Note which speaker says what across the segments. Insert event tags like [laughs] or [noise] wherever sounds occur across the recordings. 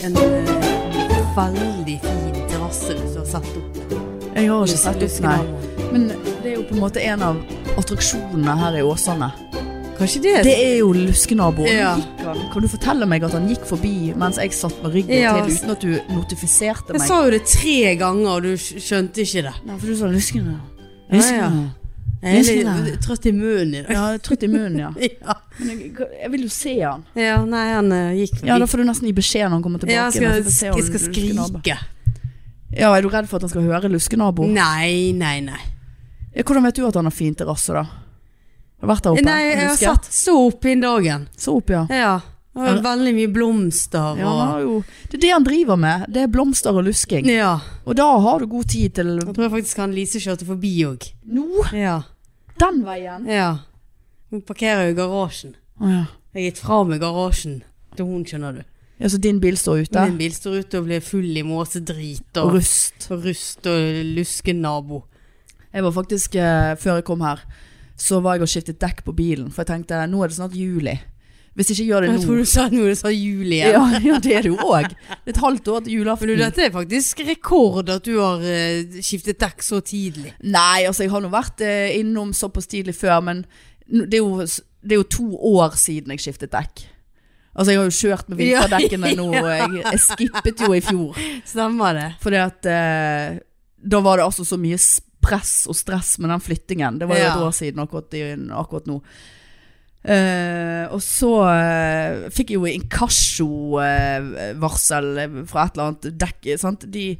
Speaker 1: eh, veldig fin terrasse du har satt opp.
Speaker 2: Jeg har
Speaker 1: Du
Speaker 2: ikke sett ut, nei. Men det er jo på en måte en av attraksjonene her i Åsane.
Speaker 1: Kanskje det,
Speaker 2: Det er jo luskenaboen.
Speaker 1: Ja.
Speaker 2: Gikk han- Kan du fortelle meg at han gikk forbi mens jeg satt med ryggen
Speaker 1: Ja.
Speaker 2: til, uten at du notifiserte
Speaker 1: Jeg
Speaker 2: meg?
Speaker 1: sa jo det tre ganger, og du skj- skjønte ikke det.
Speaker 2: Nei, for du sa luskene.
Speaker 1: Ja, ja.
Speaker 2: Luskene.
Speaker 1: Jeg er
Speaker 2: Jeg skjønner
Speaker 1: litt trøtt i munnen i
Speaker 2: [laughs]
Speaker 1: dag.
Speaker 2: Ja, trøtt i
Speaker 1: [laughs]
Speaker 2: munnen, ja.
Speaker 1: Ja.
Speaker 2: Men jeg, jeg vil jo se han.
Speaker 1: ja, nei, han eh, gikk forbi.
Speaker 2: Ja, da får du nesten gi beskjed når han kommer tilbake.
Speaker 1: Ja, jeg
Speaker 2: men
Speaker 1: skal,
Speaker 2: får se om
Speaker 1: jeg skal
Speaker 2: luskenabo.
Speaker 1: skrike.
Speaker 2: Ja, er du redd for at han skal høre luskenabo?
Speaker 1: Nei, nei, nei.
Speaker 2: Ja, hvordan vet du at han har fin terrasse, da? Har du vært der oppe?
Speaker 1: Nei, jeg har
Speaker 2: Husket?
Speaker 1: satt så opp inn dagen.
Speaker 2: Så opp, ja.
Speaker 1: Ja. Og
Speaker 2: Er-
Speaker 1: veldig mye blomster
Speaker 2: Ja, han
Speaker 1: og
Speaker 2: har jo, det er det han driver med. Det er blomster og lusking.
Speaker 1: Ja.
Speaker 2: Og da har du god tid til
Speaker 1: Jeg tror faktisk han Lise kjørte forbi òg.
Speaker 2: Nå?
Speaker 1: Ja.
Speaker 2: Den veien?
Speaker 1: ja. Hun parkerer jo i garasjen.
Speaker 2: Å ja.
Speaker 1: Jeg har gitt fra meg garasjen til hun, skjønner du.
Speaker 2: ja. Så din bil står ute?
Speaker 1: Min bil står ute og blir full i måsedrit
Speaker 2: Og
Speaker 1: og,
Speaker 2: rust.
Speaker 1: og rust og luskenabo.
Speaker 2: Jeg var faktisk, eh, før jeg kom her, så var jeg og skiftet dekk på bilen. For jeg tenkte nå er det snart juli. Hvis ikke jeg gjør det nå
Speaker 1: Jeg tror du sa noe du sa juli igjen.
Speaker 2: [laughs] ja, ja, det er det jo òg. Et halvt år til
Speaker 1: Men du,
Speaker 2: julaften.
Speaker 1: dette er faktisk rekord at du har eh, skiftet dekk så tidlig.
Speaker 2: Nei, altså jeg har nå vært eh, innom såpass tidlig før, men n- det er, jo, s- det er jo to år siden jeg skiftet dekk. Altså jeg har jo kjørt med
Speaker 1: Ja,
Speaker 2: vinterdekkene
Speaker 1: [laughs]
Speaker 2: nå, og jeg, jeg skippet jo i fjor.
Speaker 1: Stemmer det?
Speaker 2: Fordi at eh, da var det altså så mye s- press og stress med den flyttingen. Det var jo
Speaker 1: Ja.
Speaker 2: et år siden akkurat, i, akkurat nå. Eh, og så eh, fikk jeg jo inkasso-varsel fra et eller annet dekk. Sant? De,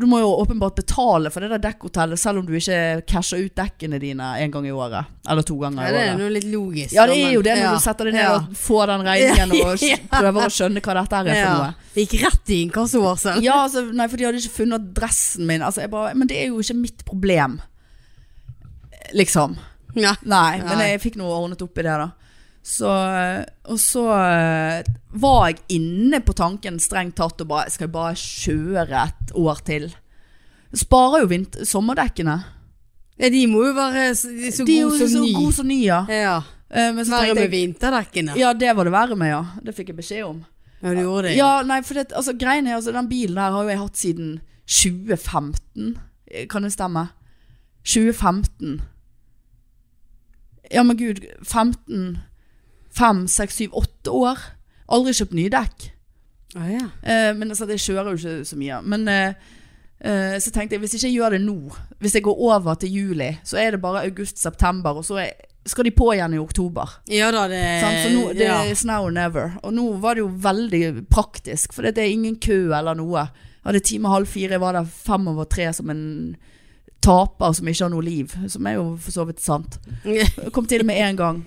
Speaker 2: du må jo åpenbart betale for det der dekkhotellet, selv om du ikke casher ut dekkene dine en gang i året. Eller to ganger
Speaker 1: Ja,
Speaker 2: i
Speaker 1: det er
Speaker 2: året.
Speaker 1: noe litt logisk.
Speaker 2: Ja, det
Speaker 1: da,
Speaker 2: er
Speaker 1: men-
Speaker 2: jo det når
Speaker 1: ja.
Speaker 2: du setter deg ned
Speaker 1: Ja.
Speaker 2: og får den
Speaker 1: [laughs]
Speaker 2: regningen og s- prøver å skjønne hva dette er for
Speaker 1: Ja.
Speaker 2: noe.
Speaker 1: Det gikk rett i [laughs] inkassovarsel.
Speaker 2: Ja, altså, nei, for de hadde ikke funnet adressen min. Altså, jeg bare, men det er jo ikke mitt problem. Liksom.
Speaker 1: Ja.
Speaker 2: Nei, men
Speaker 1: Nei.
Speaker 2: jeg fikk noe ordnet opp i det, da. Så, og så eh, var jeg inne på tanken strengt tatt og bare Skal jeg bare kjøre et år til? Sparer jo vint sommerdekkene.
Speaker 1: Ja, de må jo være s- de er så
Speaker 2: De er jo
Speaker 1: gode som
Speaker 2: så
Speaker 1: ny.
Speaker 2: gode som nye.
Speaker 1: Ja.
Speaker 2: Eh, Men så
Speaker 1: Verre med
Speaker 2: tenkte jeg
Speaker 1: vinterdekkene.
Speaker 2: Ja, det var det verre med, ja. Det fikk jeg beskjed om.
Speaker 1: Ja, du gjorde det.
Speaker 2: Ja, nei, for det, altså, greien er altså, Den bilen her har jo jeg hatt siden 2015 Eh, Kan det stemme? 2015 Ja, men gud 15 5, 6, 7, 8 år Aldri kjøpt nye dekk
Speaker 1: Ah, ja.
Speaker 2: Eh, Men altså, jeg kjører jo ikke så mye Men eh, eh, så tenkte jeg Hvis ikke jeg gjør det nå Hvis jeg går over til juli Så er det bare august, september Og så er, skal de på igjen i oktober
Speaker 1: ja da, det
Speaker 2: Sant? Så nå, det
Speaker 1: Eh, ja.
Speaker 2: er it's now or never. Og nå var det jo veldig praktisk, for det er ingen kø eller noe. Jeg hadde time halv fire, jeg var der fem over tre som en taper som ikke har noe liv. Som er jo for så vidt sant. Jeg kom til det med en gang.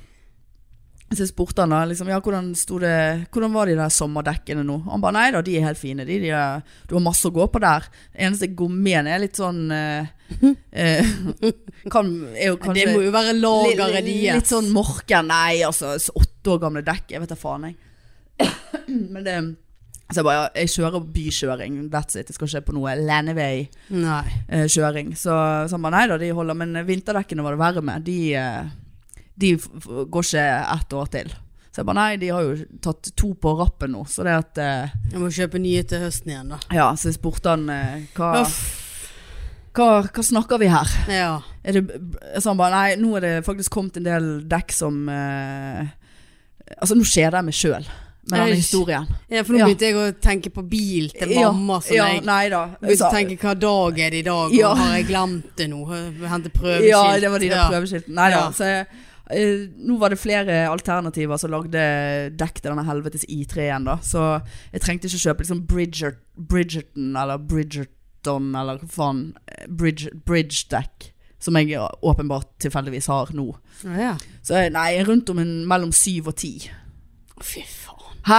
Speaker 2: Så jeg spurte han da, liksom, ja, hvordan, sto det, hvordan var de der sommerdekkene nå? Han ba, nei da, de er helt fine. De, de er, du har masse å gå på der. Eneste gommen er litt sånn
Speaker 1: [laughs]
Speaker 2: eh, eh, [laughs] kan, er jo kanskje,
Speaker 1: Det må jo være lageret
Speaker 2: Litt-
Speaker 1: deres.
Speaker 2: Litt sånn morken, nei altså s- Åtte år gamle dekk, jeg vet da faen jeg [coughs] Men det Så jeg bare, jeg kjører bykjøring That's it, jeg skal ikke på noe landevei
Speaker 1: Nei.
Speaker 2: eh, kjøring Så, så han bare, nei da, de holder Men eh, vinterdekkene var det verre med De, eh, de f- f- går ikke ett år til Så jeg bare, nei, de har jo tatt to på rappen nå Så det at eh,
Speaker 1: Jeg må kjøpe nye til høsten igjen, da.
Speaker 2: Ja, så jeg spurte han eh, hva,
Speaker 1: Uff.
Speaker 2: hva, hva snakker vi her?
Speaker 1: Ja.
Speaker 2: er det, så han bare, nei, nå er det faktisk kommet en del dekk som eh, Altså, nå skjer det meg sjøl med denne
Speaker 1: Eish.
Speaker 2: historien.
Speaker 1: ja, for nå
Speaker 2: Ja.
Speaker 1: begynte jeg å tenke på bil til mamma. som
Speaker 2: ja,
Speaker 1: jeg
Speaker 2: Nei da.
Speaker 1: Jeg Begynte
Speaker 2: Så-
Speaker 1: å tenke hva dag er det i dag,
Speaker 2: Ja.
Speaker 1: og har jeg glemt det nå? Hente prøveskilt.
Speaker 2: ja, det var de der prøveskiltene. Nei da.
Speaker 1: Ja.
Speaker 2: Så jeg, eh, nå var det flere alternativer som lagde dekk til denne helvetes I3-en, da. Så jeg trengte ikke kjøpe liksom Bridger, Bridgerton eller Bridgerton eller hva faen. eh, Bridge, bridge-dekk. Som jeg åpenbart tilfeldigvis har nå.
Speaker 1: Ja, ja.
Speaker 2: Så jeg- nei, rundt om en, mellom syv og ti.
Speaker 1: Fy faen.
Speaker 2: Hæ?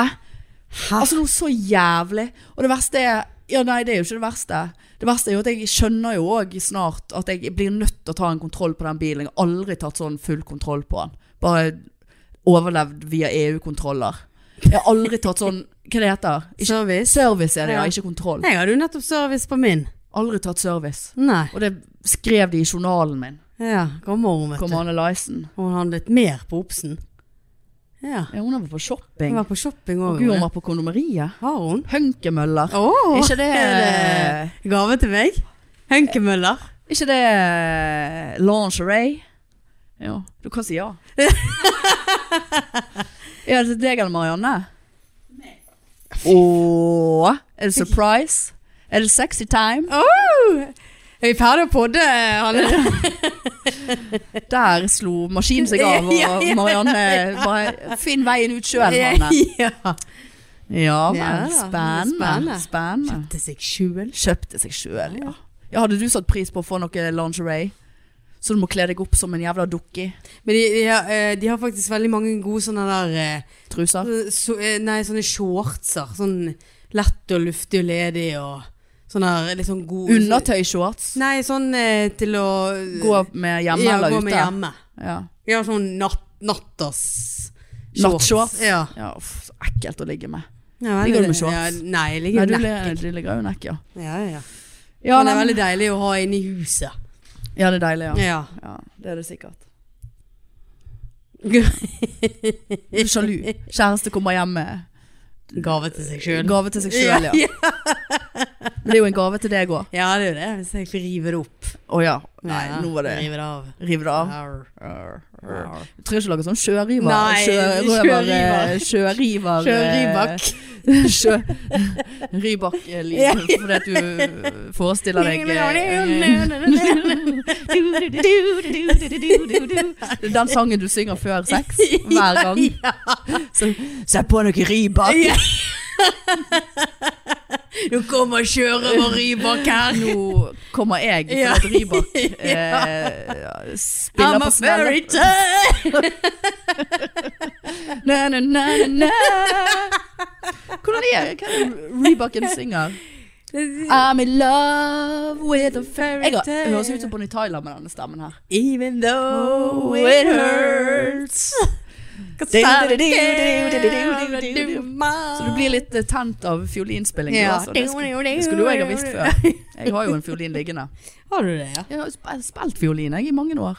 Speaker 2: Altså noe så jævlig. Og det verste er Ja, nei, det er jo ikke det verste. Det verste er jo at jeg skjønner jo òg snart at jeg blir nødt til å ta en kontroll på den bilen. Jeg har aldri tatt sånn full kontroll på den. Bare overlevd via EU-kontroller. Jeg har aldri tatt sånn Hva det heter det?
Speaker 1: Service?
Speaker 2: Service er det, ja.
Speaker 1: Ja.
Speaker 2: Ikke kontroll.
Speaker 1: Jeg hadde jo nettopp service på min.
Speaker 2: Aldri tatt service.
Speaker 1: Nei.
Speaker 2: Og det skrev de i journalen min.
Speaker 1: Ja, kommer hun, vet
Speaker 2: Kom
Speaker 1: du.
Speaker 2: Anne Lysen.
Speaker 1: Hun handlet mer på Obsen. Ja.
Speaker 2: Ja, hun har vært på shopping.
Speaker 1: Hun var på shopping
Speaker 2: Og
Speaker 1: òg.
Speaker 2: Gud, hun var på kondomeriet.
Speaker 1: Har hun?
Speaker 2: Hønkemøller.
Speaker 1: Å!
Speaker 2: Er ikke det,
Speaker 1: er det gave til meg? Henkemøller.
Speaker 2: er ikke det eh, lingerie? Ja, du kan si ja. [laughs] er det til deg eller Marianne? Åh, er det surprise? Er det sexy time?
Speaker 1: Er vi ferdige å podde, Hanne?
Speaker 2: Der slo maskinen seg [laughs] av,
Speaker 1: Ja,
Speaker 2: og
Speaker 1: ja.
Speaker 2: Marianne [laughs] bare Finn veien ut sjøl, Marianne.
Speaker 1: [laughs] Ja.
Speaker 2: Ja
Speaker 1: Ja,
Speaker 2: vel, spennende.
Speaker 1: spennende.
Speaker 2: spennende.
Speaker 1: Til seg sjøl.
Speaker 2: Kjøpte seg sjøl, ja. ja. Hadde du satt pris på å få noe lingerie? Så du må kle deg opp som en jævla dukke i
Speaker 1: Men de, de, har, eh, de har faktisk veldig mange gode sånne der eh,
Speaker 2: truser?
Speaker 1: så, eh, Nei, sånne shortser. Sånn lett og luftig og ledig og sånn der litt sånn god
Speaker 2: Undertøyshorts?
Speaker 1: Nei, sånn eh, til å
Speaker 2: Gå med hjemme
Speaker 1: ja,
Speaker 2: eller
Speaker 1: gå
Speaker 2: ute?
Speaker 1: med hjemme.
Speaker 2: Ja.
Speaker 1: Ja, sånn natt, nattas
Speaker 2: Nattshorts?
Speaker 1: Ja.
Speaker 2: ja uff, så ekkelt å ligge med.
Speaker 1: ja
Speaker 2: Ligger du med
Speaker 1: veldig-
Speaker 2: shorts?
Speaker 1: Ja, nei, jeg
Speaker 2: Nei,
Speaker 1: ligger
Speaker 2: du
Speaker 1: jo
Speaker 2: le-
Speaker 1: naked.
Speaker 2: du ligger jo nekk, ja.
Speaker 1: Ja, ja, ja. Men
Speaker 2: Ja,
Speaker 1: det er
Speaker 2: nei,
Speaker 1: veldig deilig å ha inne i huset.
Speaker 2: ja, det er deilig, ja.
Speaker 1: Ja. [laughs]
Speaker 2: ja. Det er det sikkert.
Speaker 1: Gave
Speaker 2: Du er Sjalu. Kjæreste kommer hjem med
Speaker 1: til seg sjøl.
Speaker 2: gave til seg sjøl, ja.
Speaker 1: [laughs] ja.
Speaker 2: Men det er jo en gave til deg òg.
Speaker 1: Ja, det er jo det. Hvis jeg får rive det opp.
Speaker 2: Å ja. Nei,
Speaker 1: Ja,
Speaker 2: nå var det
Speaker 1: Rive det av.
Speaker 2: Riv det av.
Speaker 1: Arr. Arr.
Speaker 2: Du trenger ikke lage sånn sjøriver.
Speaker 1: Nei,
Speaker 2: sjørøver,
Speaker 1: [laughs] sjøriver.
Speaker 2: eh, sjøriver. eh,
Speaker 1: Sjøribak.
Speaker 2: [laughs] Sjø... Rybak-liv, fordi at du forestiller deg eh, Det er Den sangen du synger før [laughs] sex hver gang. Så, Sett på noe rybak.
Speaker 1: Ja. Nå kommer kjøret og Rybak her.
Speaker 2: Nå kommer jeg, for
Speaker 1: Ja.
Speaker 2: at [laughs] Rybak eh, spiller
Speaker 1: I'm a
Speaker 2: på smellen.
Speaker 1: fairytale.
Speaker 2: [laughs] Na, na, na, na, na. Hvordan er det? Hva er det Rebakken synger? I'm in love with a fairy Jeg har- jeg høres ut som Bonnie Tyler med denne stemmen her.
Speaker 1: Even though
Speaker 2: Oh,
Speaker 1: it hurts. 'cause I don't care
Speaker 2: Så du blir litt eh, tent av fiolinspilling. du,
Speaker 1: Ja.
Speaker 2: altså. Det skulle, det skulle jo jeg ha visst før. Jeg har jo en fiolin liggende.
Speaker 1: Har du det, ja?
Speaker 2: Jeg har jo sp- spilt fiolin jeg, i mange år.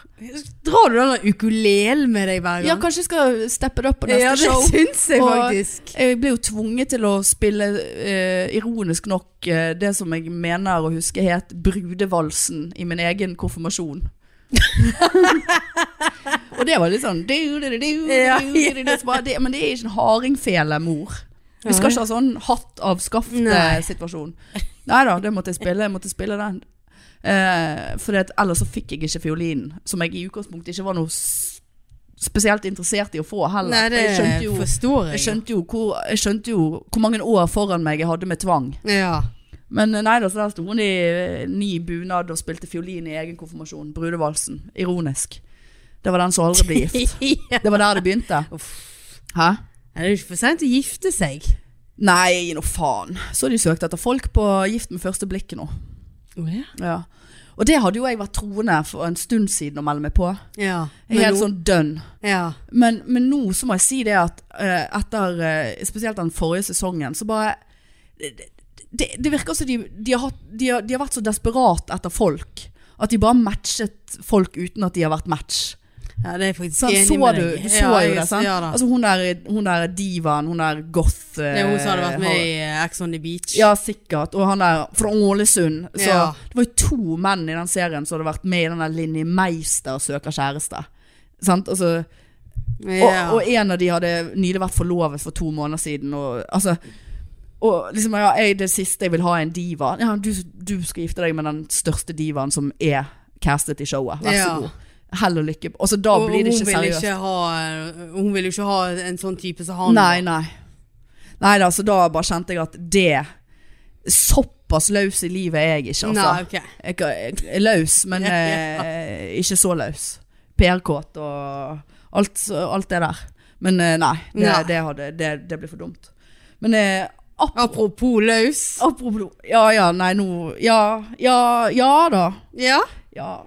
Speaker 1: Drar du den ukulelen med deg hver gang?
Speaker 2: Ja, kanskje jeg skal steppe det opp på neste
Speaker 1: ja, det
Speaker 2: show.
Speaker 1: syns jeg
Speaker 2: Og-
Speaker 1: faktisk.
Speaker 2: Jeg ble jo tvunget til å spille, eh, ironisk nok, eh, det som jeg mener å huske het brudevalsen i min egen konfirmasjon. og det var litt sånn du, du, du, du,
Speaker 1: Ja.
Speaker 2: du, du, du, du, så bare det, Men det er ikke en hardingfele, mor. Vi skal ikke ha sånn hatt av
Speaker 1: Nei.
Speaker 2: skaftet-situasjon. Nei da, det måtte jeg spille. Jeg måtte spille den. Eh, for ellers så fikk jeg ikke fiolinen, som jeg i utgangspunktet ikke var noe s- spesielt interessert i å få heller.
Speaker 1: Nei,
Speaker 2: For
Speaker 1: det
Speaker 2: jeg skjønte jo
Speaker 1: forstår
Speaker 2: jeg
Speaker 1: jeg.
Speaker 2: skjønte, jo hvor, jeg skjønte jo hvor mange år foran meg jeg hadde med tvang. [laughs]
Speaker 1: Ja.
Speaker 2: Men eh, nei da, så der sto hun i eh, ny bunad og spilte fiolin i egen konfirmasjon. Brudevalsen. Ironisk. Det var den som aldri ble gift.
Speaker 1: [laughs] ja.
Speaker 2: Det var der det begynte. Hæ?
Speaker 1: Det er jo ikke for sent å gifte seg.
Speaker 2: Nei, nå faen. Så de søkte etter folk på Gift med første blikket nå. Ja. Og det hadde jo jeg vært troende for en stund siden å melde meg på.
Speaker 1: Ja. Men nå-
Speaker 2: Helt sånn dønn.
Speaker 1: Ja.
Speaker 2: Men, men nå så må jeg si det at eh, etter eh, spesielt den forrige sesongen, så bare Det, det, det virker som de, de, har hatt, de, har, de har vært så desperat etter folk. At de bare matchet folk uten at de har vært match.
Speaker 1: ja, det er jeg faktisk
Speaker 2: Sant?
Speaker 1: enig
Speaker 2: så
Speaker 1: med
Speaker 2: du,
Speaker 1: deg.
Speaker 2: du så
Speaker 1: ja,
Speaker 2: jo
Speaker 1: jeg-
Speaker 2: det, sant?
Speaker 1: Ja da.
Speaker 2: altså, hun, der, hun der divaen, hun der goth
Speaker 1: det er hun som hadde vært med
Speaker 2: har-
Speaker 1: i eh, Ex on the Beach.
Speaker 2: Ja, sikkert. Og han der fra Ålesund. Så
Speaker 1: Ja.
Speaker 2: det var jo to menn i den serien som hadde vært med i den der Linni Meister søker kjæreste. Sant? Altså, og,
Speaker 1: Ja.
Speaker 2: og en av de hadde nylig vært forlovet for to måneder siden. Og, altså, og liksom, ja, jeg, det siste jeg vil ha er en diva. Ja, du, du skal gifte deg med den største divaen som er castet i showet. Vær så
Speaker 1: Ja.
Speaker 2: god. Hell og lykke. Altså, da
Speaker 1: Og- og
Speaker 2: blir det
Speaker 1: hun
Speaker 2: ikke
Speaker 1: vil
Speaker 2: seriøst.
Speaker 1: Ikke ha, eh, hun vil jo ikke ha en sånn type som han.
Speaker 2: Nei, nei. Nei da, så da bare kjente jeg at det Såpass løs i livet er jeg ikke, altså.
Speaker 1: Nei, ok.
Speaker 2: Jeg er- jeg er løs, men
Speaker 1: Ja, ja.
Speaker 2: eh, ikke så løs. PR-kåt og alt, alt det der. Men eh, nei, det,
Speaker 1: Nei.
Speaker 2: Det, hadde, det, det ble for dumt. Men eh, ap
Speaker 1: Apropos løs.
Speaker 2: apropos Ja ja, nei nå Ja, ja, ja da.
Speaker 1: Ja.
Speaker 2: Ja.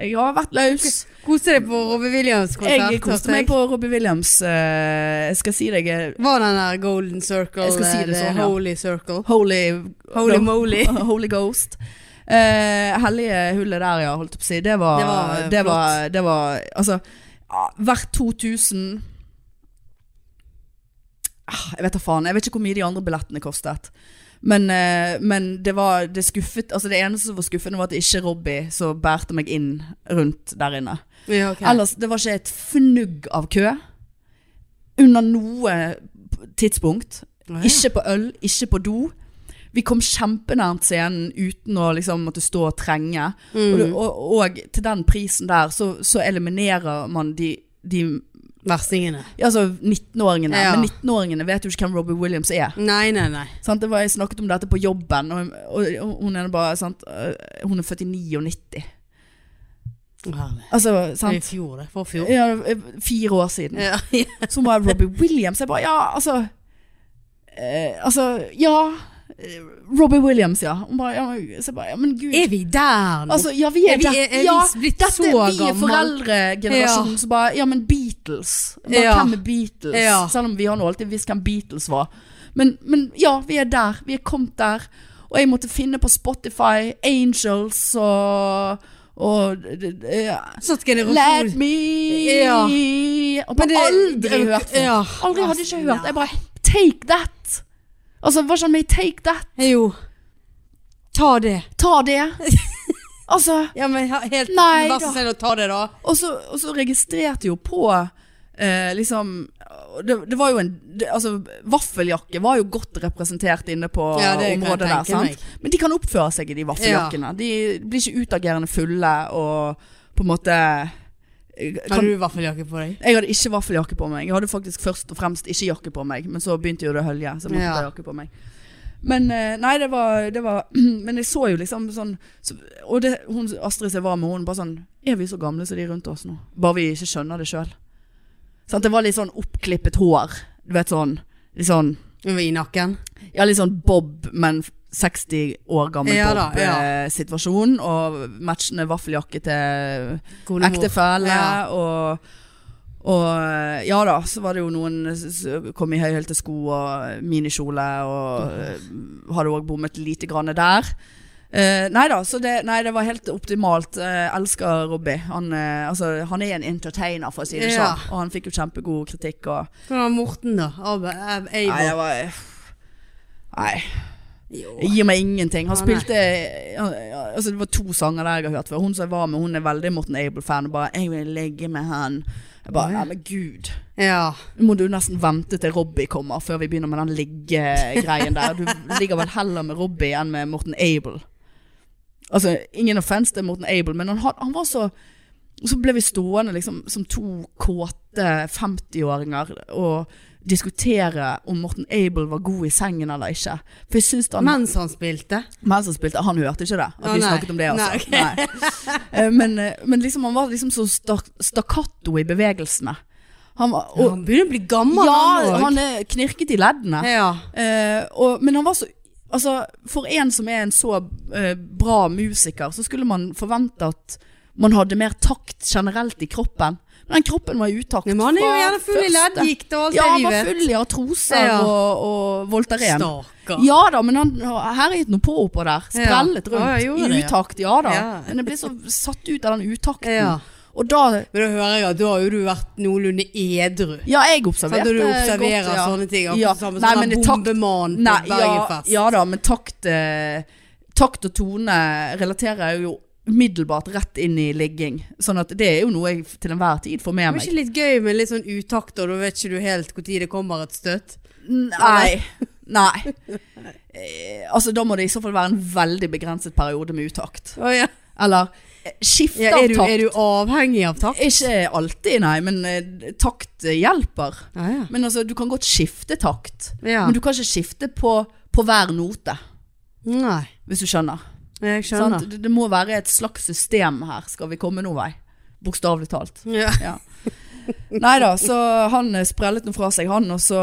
Speaker 2: Jeg har vært løs.
Speaker 1: Koste deg på Robbie Williams konsert.
Speaker 2: Jeg koste meg på Robbie Williams. eh, Jeg skal si deg eh,
Speaker 1: Var den der Golden Circle,
Speaker 2: Jeg skal si det
Speaker 1: eh,
Speaker 2: sånn,
Speaker 1: the
Speaker 2: ja.
Speaker 1: Holy Circle?
Speaker 2: Holy
Speaker 1: Holy moly.
Speaker 2: [laughs] Holy Ghost. Eh, hellige hullet der, ja, holdt jeg på å si. Det var
Speaker 1: Det var, eh,
Speaker 2: ah, Det var, det var altså ja, Hvert 2000 Ah, Jeg vet da faen. Jeg vet ikke hvor mye de andre billettene kostet. Men, eh, men det var det skuffet Altså det eneste som var skuffende, var at det ikke Robbie som bærte meg inn rundt der inne.
Speaker 1: Ja, ok.
Speaker 2: Ellers, det var ikke et fnugg av kø. Under noe tidspunkt.
Speaker 1: Å, ja.
Speaker 2: Ikke på øl, ikke på do. Vi kom kjempenært scenen uten å liksom måtte stå og trenge.
Speaker 1: Mm.
Speaker 2: Og, det- og, og til den prisen der, så, så eliminerer man de, de
Speaker 1: Verstingene.
Speaker 2: ja, altså 19-åringene.
Speaker 1: Ja.
Speaker 2: Men 19-åringene vet jo ikke hvem Robbie Williams er.
Speaker 1: Nei, nei, nei.
Speaker 2: Sant? Det var, jeg snakket om dette på jobben, og, og, og hun er bare sant? øh, Hun er født i 99.
Speaker 1: Å, Herlig.
Speaker 2: Altså,
Speaker 1: Det er
Speaker 2: sant?
Speaker 1: I fjor, det. For fjor.
Speaker 2: Ja, øh, fire år siden.
Speaker 1: Ja.
Speaker 2: Så var jeg Robbie Williams. Jeg bare Ja, altså eh, Altså, ja. eh, Robbie Williams, ja. Hun bare, ja men- så jeg bare, ja, men gud
Speaker 1: Er vi der nå?
Speaker 2: Altså, ja, vi er,
Speaker 1: Er vi-
Speaker 2: der.
Speaker 1: er- er vi
Speaker 2: ja,
Speaker 1: blitt
Speaker 2: dette,
Speaker 1: så
Speaker 2: vi er
Speaker 1: gammel?
Speaker 2: foreldregenerasjonen som bare Ja, men Beatles. Bare,
Speaker 1: Ja.
Speaker 2: Hvem er Beatles?
Speaker 1: Ja.
Speaker 2: Selv om vi har nå alltid visst hvem Beatles var. Men, men ja, vi er der. Vi er kommet der. Og jeg måtte finne på Spotify, Angels og, og d- d- ja.
Speaker 1: Sånn generasjon.
Speaker 2: Let me
Speaker 1: Ja.
Speaker 2: Og bare aldri hørt før.
Speaker 1: Ja.
Speaker 2: Aldri hadde jeg ikke hørt. Jeg bare Take that! Altså, hva skjer med Take that?
Speaker 1: Nei. Jo. Ta det. [laughs]
Speaker 2: Ta det! altså
Speaker 1: Ja, men he- helt
Speaker 2: Nei,
Speaker 1: Vær
Speaker 2: da.
Speaker 1: så snill å ta det, da.
Speaker 2: Og så, og så registrerte jeg jo på eh, liksom det, det var jo en det, Altså, vaffeljakke var jo godt representert inne på
Speaker 1: Ja, det kan jeg
Speaker 2: området der,
Speaker 1: tenke
Speaker 2: sant?
Speaker 1: meg.
Speaker 2: Men de kan oppføre seg i de vaffeljakkene. De blir ikke utagerende fulle og på en måte
Speaker 1: Har
Speaker 2: kan,
Speaker 1: du vaffeljakke på deg?
Speaker 2: Jeg hadde ikke vaffeljakke på meg. Jeg hadde faktisk først og fremst ikke jakke på meg, men så begynte jo det å hølje, så jeg måtte
Speaker 1: Ja.
Speaker 2: ta jakke på meg. Men eh, nei, det var, det var [clears throat] Men jeg så jo liksom sånn så, Og det, hun, Astrid som jeg var med, hun bare sånn Er vi så gamle som de rundt oss nå? Bare vi ikke skjønner det sjøl. Sant, det var litt sånn oppklippet hår. Du vet sånn Litt sånn
Speaker 1: I nakken?
Speaker 2: ja, litt sånn Bob, men 60 år gammel
Speaker 1: Ja da,
Speaker 2: Bob-situasjon. Og matchende vaffeljakke til
Speaker 1: Konemor.
Speaker 2: ektefelle.
Speaker 1: Ja.
Speaker 2: Og, og ja da, så var det jo noen som kom i høyhælte sko og minikjole, og eh, hadde òg bommet lite grann der. Eh, nei da, så det, nei, det var helt optimalt. Eh, elsker Robbie. Han, eh, altså, han er en entertainer, for å si det
Speaker 1: Ja.
Speaker 2: sånn. Og han fikk jo kjempegod kritikk. Og,
Speaker 1: Hvordan var Morten, da? Abbe, Ab-
Speaker 2: Nei,
Speaker 1: Eivor?
Speaker 2: jeg var Nei,
Speaker 1: Jo.
Speaker 2: det gir meg ingenting. Han
Speaker 1: Ah, nei.
Speaker 2: spilte ja, altså, Det var to sanger der jeg har hørt før. Hun som jeg var med, hun er veldig Morten Able-fan. Og bare 'Jeg vil ligge med han'. Jeg bare
Speaker 1: Ja.
Speaker 2: Ja, men gud.
Speaker 1: Ja.
Speaker 2: Nå må du nesten vente til Robbie kommer, før vi begynner med den liggegreien der. Du ligger vel heller med Robbie enn med Morten Able. Altså, ingen offense til Morten Able, men han, had- han var så Så ble vi stående liksom som to kåte 50-åringer og diskutere om Morten Able var god i sengen eller ikke. For jeg syns han
Speaker 1: Mens han spilte?
Speaker 2: mens han spilte, han hørte ikke det. At
Speaker 1: Å,
Speaker 2: vi
Speaker 1: nei.
Speaker 2: snakket om det, altså.
Speaker 1: Nei, ok.
Speaker 2: Nei. Eh, Men, eh, men liksom, han var liksom så stak- stakkato i bevegelsene. Han var,
Speaker 1: Ja,
Speaker 2: og,
Speaker 1: han begynner å bli gammel,
Speaker 2: ja,
Speaker 1: også.
Speaker 2: han er knirket i leddene.
Speaker 1: Ja.
Speaker 2: Eh, og, men han var så Altså, for en som er en så eh, bra musiker, så skulle man forvente at man hadde mer takt generelt i kroppen. Men den kroppen var i utakt.
Speaker 1: Nei, Men han er jo
Speaker 2: fra
Speaker 1: gjerne full i
Speaker 2: første-
Speaker 1: leddgikt og alt
Speaker 2: Ja, han
Speaker 1: det vi
Speaker 2: var
Speaker 1: vet.
Speaker 2: full i artroser
Speaker 1: Ja.
Speaker 2: og, og Voltaren.
Speaker 1: Stakkar.
Speaker 2: Ja da, men han herjet noe på oppå der. Sprellet
Speaker 1: Ja.
Speaker 2: rundt.
Speaker 1: Ja, jeg gjorde
Speaker 2: I
Speaker 1: det, ja.
Speaker 2: utakt, ja da.
Speaker 1: Ja.
Speaker 2: Men jeg ble så satt ut av den utakten.
Speaker 1: Ja.
Speaker 2: Og da
Speaker 1: Men da hører jeg at da har jo du vært noenlunde edru.
Speaker 2: Ja, jeg
Speaker 1: Sant, Sånn
Speaker 2: observerte
Speaker 1: når du observerer
Speaker 2: godt, ja.
Speaker 1: sånne ting.
Speaker 2: Ja.
Speaker 1: Ja. Samme
Speaker 2: Nei,
Speaker 1: som
Speaker 2: men
Speaker 1: en
Speaker 2: det takt-
Speaker 1: bombemann på
Speaker 2: Nei, ja,
Speaker 1: Bergenfest.
Speaker 2: ja da, men takt eh, Takt og tone relaterer jeg jo umiddelbart rett inn i ligging. Sånn at det er jo noe jeg til enhver tid får
Speaker 1: Det
Speaker 2: med
Speaker 1: var
Speaker 2: meg.
Speaker 1: ikke litt gøy med litt sånn utakt, og da vet ikke du helt når det kommer et støtt?
Speaker 2: Nei. [laughs] Nei. Eh, altså, da må det i så fall være en veldig begrenset periode med utakt.
Speaker 1: Å, ja.
Speaker 2: Eller eh, skifte
Speaker 1: Ja,
Speaker 2: av
Speaker 1: er, du,
Speaker 2: takt.
Speaker 1: er du avhengig av takt?
Speaker 2: Ikke alltid, nei, men eh, takt eh, hjelper.
Speaker 1: Ja, ja.
Speaker 2: Men altså, du kan godt skifte takt,
Speaker 1: ja.
Speaker 2: men du kan ikke skifte på, på hver note,
Speaker 1: Nei,
Speaker 2: hvis du skjønner.
Speaker 1: jeg skjønner.
Speaker 2: Sant? Det, det må være et slags system her, skal vi komme noen vei. Bokstavelig talt.
Speaker 1: Ja.
Speaker 2: Nei da, så han eh, sprellet noe fra seg, han, og så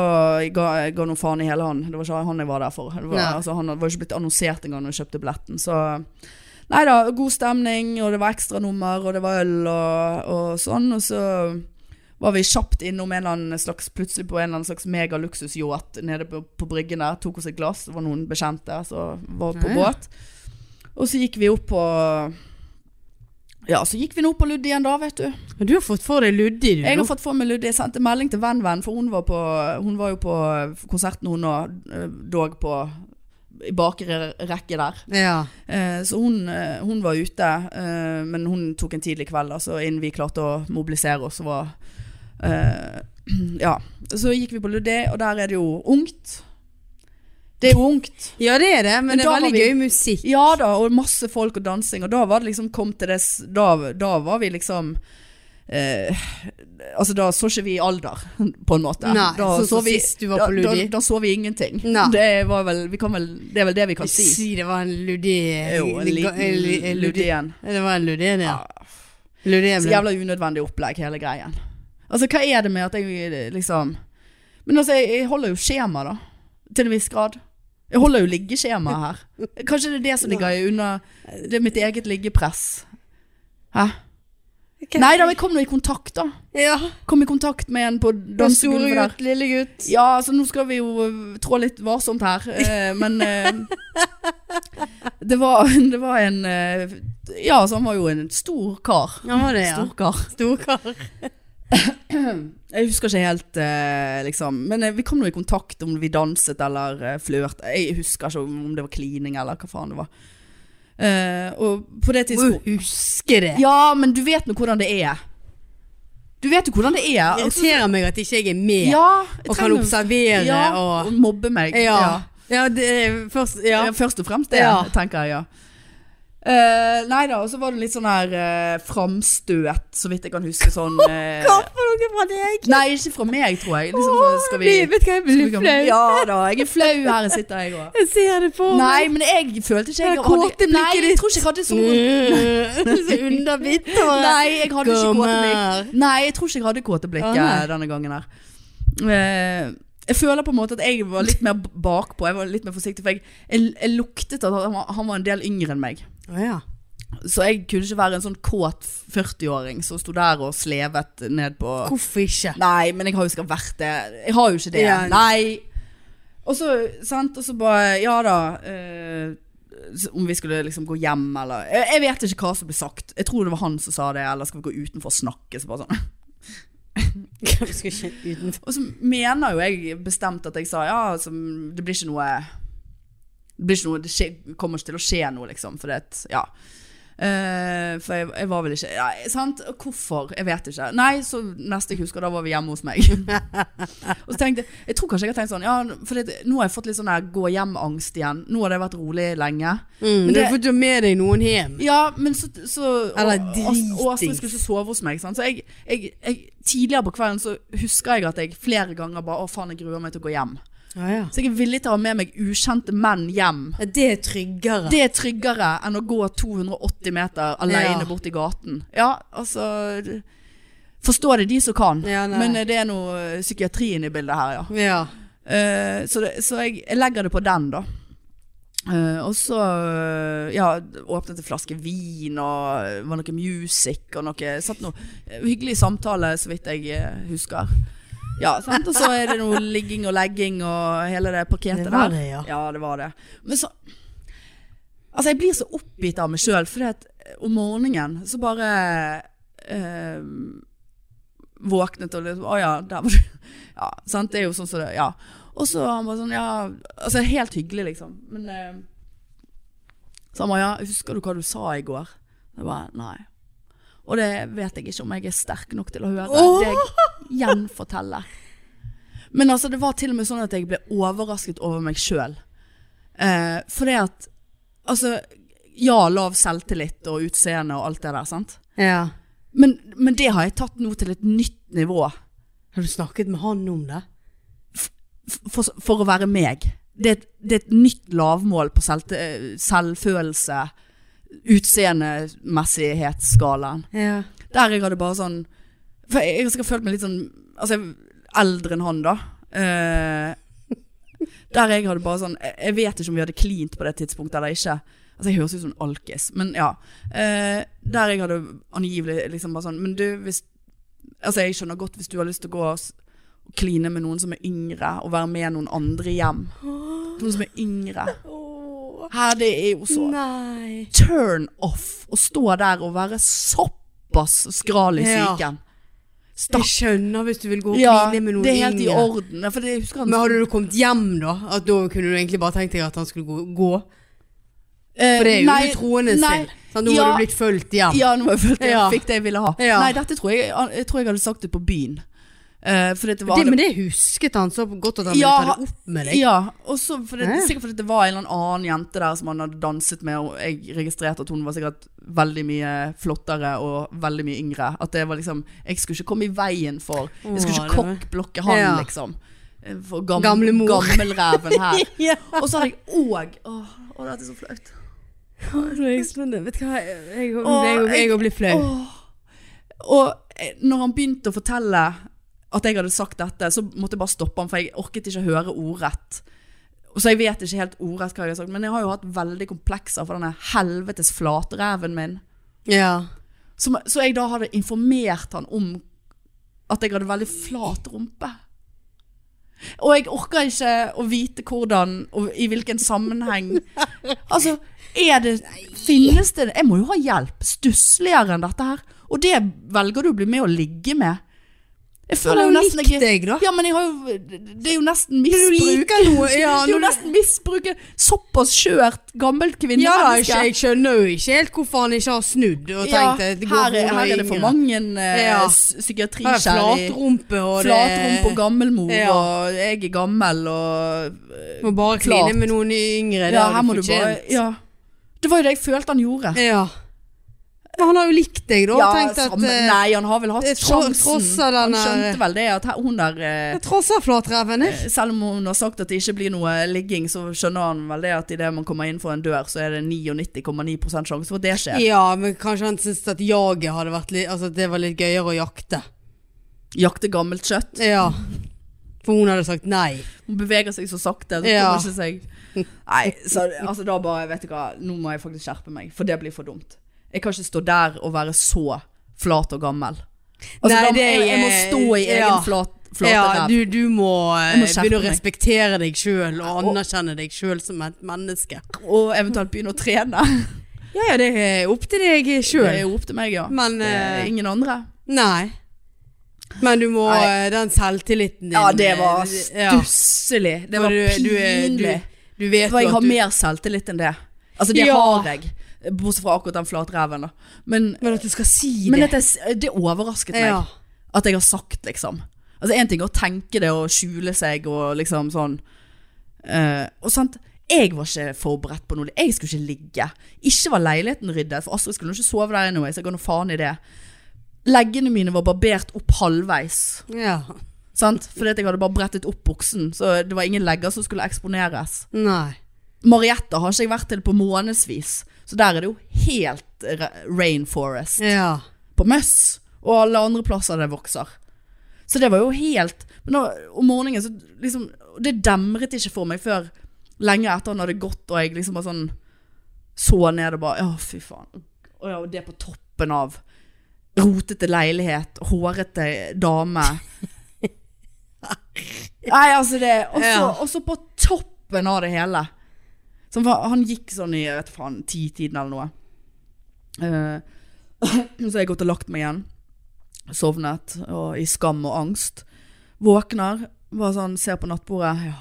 Speaker 2: ga, ga noe faen i hele han. Det var ikke han jeg var der for. Det var,
Speaker 1: Nei.
Speaker 2: altså, han var ikke blitt annonsert engang når jeg kjøpte billetten, så Nei da, god stemning, og det var ekstranummer, og det var øl og, og sånn, og så var vi kjapt innom en eller annen slags, plutselig på en eller annen slags megaluksusyacht nede på, på bryggen der. Tok oss et glass, det var noen bekjente som var på
Speaker 1: Ja, ja.
Speaker 2: båt. Og så gikk vi opp på Ja, så gikk vi nå på Ludd igjen da, vet du.
Speaker 1: Men du har fått for deg Luddi, du.
Speaker 2: Jeg har
Speaker 1: nå.
Speaker 2: fått for meg Ludd. Jeg sendte melding til venn-venn, for hun var, på, hun var jo på konserten hun og eh, dog på i bakre rekke der.
Speaker 1: Ja.
Speaker 2: Eh, Så hun, eh, hun var ute, eh, men hun tok en tidlig kveld, altså innen vi klarte å mobilisere oss. så Var, eh, [clears throat] ja. Så gikk vi på Ludé, og der er det jo ungt. Det er jo ungt.
Speaker 1: ja, det er det, men,
Speaker 2: Men
Speaker 1: det
Speaker 2: da
Speaker 1: er
Speaker 2: var
Speaker 1: veldig
Speaker 2: vi-
Speaker 1: gøy musikk.
Speaker 2: Ja da, og masse folk og dansing, og da var det liksom kom til det s- Da, da var vi liksom eh, altså Da så ikke vi alder, [laughs] på en måte.
Speaker 1: Nei,
Speaker 2: da
Speaker 1: sånn som
Speaker 2: vi,
Speaker 1: sist du var på
Speaker 2: da,
Speaker 1: Ludé.
Speaker 2: da, da så vi ingenting.
Speaker 1: Nei.
Speaker 2: Det, var vel, vi kan vel, det er vel det vi kan si.
Speaker 1: Si det var en Luddi
Speaker 2: Jo, en liten Ludé igjen.
Speaker 1: Det var en Luddi, ja.
Speaker 2: Ja.
Speaker 1: Luddi
Speaker 2: Så
Speaker 1: ble
Speaker 2: jævla unødvendig opplegg, hele greien. Altså, hva er det med at jeg liksom Men altså, jeg, jeg holder jo skjema, da. Til en viss grad. Jeg holder jo
Speaker 1: [laughs]
Speaker 2: liggeskjema her. Kanskje det er det som ligger under Det er mitt eget liggepress. Hæ? Nei da, jeg kom nå i kontakt, da.
Speaker 1: Ja.
Speaker 2: Kom i kontakt med en på
Speaker 1: Den store
Speaker 2: dansegulvet der.
Speaker 1: gutt, lille gutt.
Speaker 2: Ja, altså nå skal vi jo øh, trå litt varsomt her, eh,
Speaker 1: [laughs]
Speaker 2: men eh, det, var, [laughs] det var en eh, Ja, altså han var jo en stor kar.
Speaker 1: Ja, var det, ja.
Speaker 2: Stor kar.
Speaker 1: Storkar.
Speaker 2: Jeg husker ikke helt, eh, liksom. Men eh, vi kom nå i kontakt om vi danset eller eh, flørt. Jeg husker ikke om om det var klining eller hva faen det var. Eh, og på det
Speaker 1: Må jo
Speaker 2: tidspunktet
Speaker 1: huske det.
Speaker 2: Ja, men du vet nå hvordan det er. Du vet jo hvordan det er.
Speaker 1: Det
Speaker 2: Altså,
Speaker 1: irriterer meg at ikke jeg er med
Speaker 2: ja, jeg
Speaker 1: og kan
Speaker 2: trenger-
Speaker 1: observere
Speaker 2: ja, Oh
Speaker 1: og
Speaker 2: og mobbe meg.
Speaker 1: Ja. ja det, er først, ja.
Speaker 2: Ja, Først og fremst det,
Speaker 1: Ja.
Speaker 2: tenker jeg, ja. Eh, nei da, og så var det litt sånn her eh, framstøt, så vidt jeg kan huske. Sånn eh,
Speaker 1: for noe fra deg?
Speaker 2: Nei, ikke fra meg, tror jeg. Liksom, så skal vi,
Speaker 1: Vet du hva, jeg blir
Speaker 2: skal vi-
Speaker 1: flau.
Speaker 2: Ja da, jeg er flau her sitter jeg òg.
Speaker 1: Jeg ser det på
Speaker 2: Nei, men jeg følte ikke jeg
Speaker 1: Det kåte blikket Mm.
Speaker 2: Nei, jeg tror ikke jeg hadde [laughs] så
Speaker 1: [laughs] Så underbitt og
Speaker 2: Nei, jeg hadde ikke
Speaker 1: Kom
Speaker 2: kåte
Speaker 1: her.
Speaker 2: blikk. Nei, jeg tror ikke jeg hadde kåte
Speaker 1: Å,
Speaker 2: blikket
Speaker 1: nei.
Speaker 2: denne gangen her. Eh, jeg føler på en måte at jeg var litt mer bakpå. Jeg var litt mer forsiktig, for jeg, jeg, jeg luktet at han var, han var en del yngre enn meg.
Speaker 1: Å ja.
Speaker 2: Så jeg kunne ikke være en sånn kåt 40-åring som sto der og slevet ned på
Speaker 1: Hvorfor
Speaker 2: [laughs]
Speaker 1: ikke?
Speaker 2: Nei, men jeg har jo sikkert vært det. Jeg har jo ikke det.
Speaker 1: Ja.
Speaker 2: Nei. Og så, sant, og så bare Ja da. eh, s- om vi skulle liksom gå hjem, eller jeg, jeg vet ikke hva som ble sagt. Jeg tror det var han som sa det, eller skal vi gå utenfor og snakke? Så bare sånn.
Speaker 1: Skal ikke utenfor
Speaker 2: [laughs] Og så mener jo jeg bestemt at jeg sa ja, altså, det blir ikke noe Det blir ikke noe, det skje, kommer ikke til å skje noe, liksom. For det at, ja. Eh, for jeg, jeg var vel ikke ja, sant? Og Hvorfor? Jeg vet ikke. Nei, så neste jeg husker, da var vi hjemme hos meg. og så tenkte jeg Jeg tror kanskje jeg har tenkt sånn Ja, for det, nå har jeg fått litt sånn der gå hjem-angst igjen. Nå har det vært rolig lenge.
Speaker 1: mm,
Speaker 2: Men
Speaker 1: Du
Speaker 2: det-
Speaker 1: har fått jo med deg noen hjem.
Speaker 2: Ja, men så, så
Speaker 1: Eller
Speaker 2: og-
Speaker 1: dritings.
Speaker 2: og- og Astrid skulle ikke sove hos meg sant? Så jeg, jeg, jeg, tidligere på kvelden så husker jeg at jeg flere ganger bare Å faen, jeg gruer meg til å gå hjem
Speaker 1: Å ja.
Speaker 2: Så jeg er villig til å ha med meg ukjente menn hjem
Speaker 1: Ja, Det er tryggere.
Speaker 2: Det er tryggere enn å gå 280 meter alene
Speaker 1: Ja.
Speaker 2: bort i gaten Ja, altså Forstår det de som kan
Speaker 1: Ja, nei.
Speaker 2: Men eh, det er noe psykiatrien i bildet her, ja
Speaker 1: Ja.
Speaker 2: Eh, så det, så jeg, jeg legger det på den, da. Eh, og så eh, ja, åpnet en flaske vin, og det var noe music og noe Satt noe eh, hyggelig samtale, så vidt jeg eh, husker. Ja, sant? Og så er det noe ligging og legging og hele det paketet
Speaker 1: Det var
Speaker 2: der.
Speaker 1: det, ja.
Speaker 2: ja, det var det. Men så Altså, jeg blir så oppgitt av meg sjøl, fordi at eh, om morgenen så bare eh, Våknet og liksom Å ja, der var du ja, sant? Det er jo sånn som det Ja. Og så han bare sånn Ja, altså helt hyggelig, liksom. Men eh, Så han bare Ja, husker du hva du sa i går? Jeg bare Nei. Og det vet jeg ikke om jeg er sterk nok til å høre.
Speaker 1: Åh!
Speaker 2: Det gjenforteller. Men altså, det var til og med sånn at jeg ble overrasket over meg sjøl. Eh, for det at Altså, ja, lav selvtillit og utseende og alt det der, sant.
Speaker 1: ja.
Speaker 2: Men, men det har jeg tatt nå til et nytt nivå.
Speaker 1: Har du snakket med han om det?
Speaker 2: for, for å være meg. Det, er et- det er et nytt lavmål på selv, eh, selvfølelse, utseendemessighetsskalaen.
Speaker 1: Ja.
Speaker 2: Der jeg hadde bare sånn For jeg, jeg skal føle meg litt sånn Altså, jeg, eldre enn han, da. Eh, der jeg hadde bare sånn jeg, jeg vet ikke om vi hadde klint på det tidspunktet eller ikke. Altså, jeg høres ut som en alkis, men ja. Eh, der jeg hadde angivelig liksom bare sånn Men du, hvis Altså, jeg skjønner godt hvis du har lyst til å gå og s- og kline med noen som er yngre, og være med noen andre hjem. Noen som er yngre.
Speaker 1: Åh.
Speaker 2: Her det er jo så
Speaker 1: Nei.
Speaker 2: turn off å stå der og være såpass skral i
Speaker 1: Ja.
Speaker 2: psyken.
Speaker 1: Jeg
Speaker 2: Stakkars.
Speaker 1: skjønner hvis du vil gå og
Speaker 2: Ja,
Speaker 1: hvile med noen
Speaker 2: det er helt i
Speaker 1: yngre.
Speaker 2: orden. Ja, For det, jeg husker han
Speaker 1: Men hadde du kommet hjem da? At da kunne du egentlig bare tenkt deg at han skulle gå? gå.
Speaker 2: Eh,
Speaker 1: For det er jo
Speaker 2: nei,
Speaker 1: ikke troende
Speaker 2: nei,
Speaker 1: sin. Sant? nå
Speaker 2: ja.
Speaker 1: har du blitt fulgt hjem.
Speaker 2: Ja, nå har jeg følt jeg
Speaker 1: Ja.
Speaker 2: fikk det jeg ville ha.
Speaker 1: Ja.
Speaker 2: Nei, dette tror jeg, jeg tror jeg hadde sagt det på byen. Eh, for det var
Speaker 1: det, men det husket han så godt at han
Speaker 2: Ja,
Speaker 1: ville ta det opp
Speaker 2: [laughs]
Speaker 1: med deg.
Speaker 2: Ja, og så for det,
Speaker 1: Hæ?
Speaker 2: sikkert fordi det var en eller annen jente der som han hadde danset med, og jeg registrerte at hun var sikkert veldig mye flottere og veldig mye yngre. At det var liksom Jeg skulle ikke komme i veien for Jeg
Speaker 1: Åh,
Speaker 2: skulle ikke
Speaker 1: det var-
Speaker 2: kokkblokke han,
Speaker 1: Ja.
Speaker 2: liksom. Eh, For gam,
Speaker 1: Gamle mor. [laughs]
Speaker 2: Gammelræven her.
Speaker 1: Ja.
Speaker 2: Og så hadde jeg òg Å, å, dette er så flaut.
Speaker 1: Jeg skjønner. Liksom, Vet du hva, jeg, jeg,
Speaker 2: Åh,
Speaker 1: jeg, jeg, jeg blir flau.
Speaker 2: Og eh, når han begynte å fortelle at jeg hadde sagt dette, så måtte jeg bare stoppe han, for jeg orket ikke høre ordrett. Og Så jeg vet ikke helt ordrett hva jeg har sagt, men jeg har jo hatt veldig komplekser for denne helvetes flatreven min.
Speaker 1: Ja.
Speaker 2: Som, så jeg da hadde informert han om at jeg hadde veldig flat rumpe. Og jeg orker ikke å vite hvordan og i hvilken sammenheng Altså, er det Finnes det Jeg må jo ha hjelp. Stussligere enn dette her. Og det velger du å bli med å ligge med. Jeg
Speaker 1: Han
Speaker 2: føler
Speaker 1: har
Speaker 2: jo
Speaker 1: jo
Speaker 2: nesten
Speaker 1: likt
Speaker 2: jeg,
Speaker 1: deg, da.
Speaker 2: Ja, men jeg har jo Det er jo
Speaker 1: Du
Speaker 2: nesten misbruk.
Speaker 1: liker noe ja,
Speaker 2: [laughs] Det er jo
Speaker 1: når du-
Speaker 2: nesten misbruk. Såpass skjørt gammelt
Speaker 1: ja da, jeg,
Speaker 2: kvinnemenneske.
Speaker 1: skjø- jeg skjønner jo ikke helt hvorfor han ikke har snudd og
Speaker 2: Ja,
Speaker 1: tenkt at det går
Speaker 2: her, er, her er det for mange eh,
Speaker 1: Ja.
Speaker 2: s-
Speaker 1: Her er
Speaker 2: psykiatriskjær i
Speaker 1: flatrumpe og det
Speaker 2: flatrump og gammelmor,
Speaker 1: Ja.
Speaker 2: og jeg er gammel, og
Speaker 1: Må bare kline
Speaker 2: flat.
Speaker 1: med noen yngre. det
Speaker 2: Ja,
Speaker 1: har
Speaker 2: her må du bare
Speaker 1: fortjent.
Speaker 2: ja. Det var jo det jeg følte han gjorde.
Speaker 1: Ja. Men han har jo likt deg, da. og tenkt at
Speaker 2: samme-
Speaker 1: eh,
Speaker 2: nei, han har vel hatt
Speaker 1: jeg tro-
Speaker 2: sjansen.
Speaker 1: trosser den
Speaker 2: han
Speaker 1: her-
Speaker 2: skjønte vel det at her- hun der eh,
Speaker 1: Jeg trosser flatreven, jeg.
Speaker 2: Selv om hun har sagt at det ikke blir noe eh, ligging, så skjønner han vel det at idet man kommer inn for en dør, så er det 99,9 sjanse for at det skjer.
Speaker 1: Ja, men kanskje han syntes at jaget hadde vært litt Altså at det var litt gøyere å jakte.
Speaker 2: Jakte gammelt kjøtt.
Speaker 1: Ja. For hun hadde sagt nei.
Speaker 2: Hun beveger seg så sakte. Så
Speaker 1: Ja.
Speaker 2: kommer ikke seg Nei, så altså, da bare Vet du hva, nå må jeg faktisk skjerpe meg, for det blir for dumt. Jeg kan ikke stå der og være så flat og gammel. Altså,
Speaker 1: Nei,
Speaker 2: da, må-
Speaker 1: det
Speaker 2: jeg, jeg må
Speaker 1: er-
Speaker 2: stå i egen
Speaker 1: ja.
Speaker 2: flat, flate
Speaker 1: Ja,
Speaker 2: ræv.
Speaker 1: du, du må, eh,
Speaker 2: Jeg må skjerpe
Speaker 1: begynne å
Speaker 2: meg.
Speaker 1: respektere deg sjøl og anerkjenne deg sjøl som et menneske.
Speaker 2: Og eventuelt begynne å trene.
Speaker 1: Ja, ja, det er opp til deg
Speaker 2: Det er
Speaker 1: sjøl.
Speaker 2: jo opp til meg, ja.
Speaker 1: Men
Speaker 2: Det er
Speaker 1: eh,
Speaker 2: ingen andre.
Speaker 1: Nei. Men du må
Speaker 2: Nei.
Speaker 1: eh, Den selvtilliten din
Speaker 2: Ja, det var
Speaker 1: eh, ja.
Speaker 2: stusslig. Det
Speaker 1: For
Speaker 2: var
Speaker 1: du- du er- du-
Speaker 2: pinlig.
Speaker 1: Du vet
Speaker 2: For
Speaker 1: jo
Speaker 2: jeg
Speaker 1: at
Speaker 2: har
Speaker 1: du
Speaker 2: mer selvtillit enn det. Altså, det
Speaker 1: Ja.
Speaker 2: har jeg. Bortsett fra akkurat den flatreven, da. Men,
Speaker 1: Men at du skal si
Speaker 2: men
Speaker 1: det.
Speaker 2: at jeg, det overrasket meg.
Speaker 1: ja.
Speaker 2: at jeg har sagt, liksom. Altså, en ting er å tenke det og skjule seg og liksom sånn. Eh, og sant, jeg var ikke forberedt på noe. Jeg skulle ikke ligge. Ikke var leiligheten ryddet, for Astrid skulle jo ikke sove der anyway, så jeg ga noe faen i det. Leggene mine var barbert opp halvveis,
Speaker 1: ja.
Speaker 2: sant? Fordi at jeg hadde bare brettet opp buksen, så det var ingen legger som skulle eksponeres.
Speaker 1: Nei.
Speaker 2: Marietta har ikke jeg vært til på månedsvis, så der er det jo helt ra- rainforest
Speaker 1: Ja.
Speaker 2: på Møss og alle andre plasser det vokser. Så det var jo helt Men da, om morgenen så liksom Det demret ikke for meg før lenge etter han hadde gått, og jeg liksom bare sånn så ned og bare Ja, fy faen. Og ja, og det på toppen av rotete leilighet, hårete dame. Nei, altså det Og så
Speaker 1: Ja.
Speaker 2: og så på toppen av det hele. Så han, var- han gikk sånn i jeg vet faen, titiden eller noe. Eh, [clears throat] så har jeg gått og lagt meg igjen. Sovnet og i skam og angst. Våkner, bare sånn, ser på nattbordet. Ja,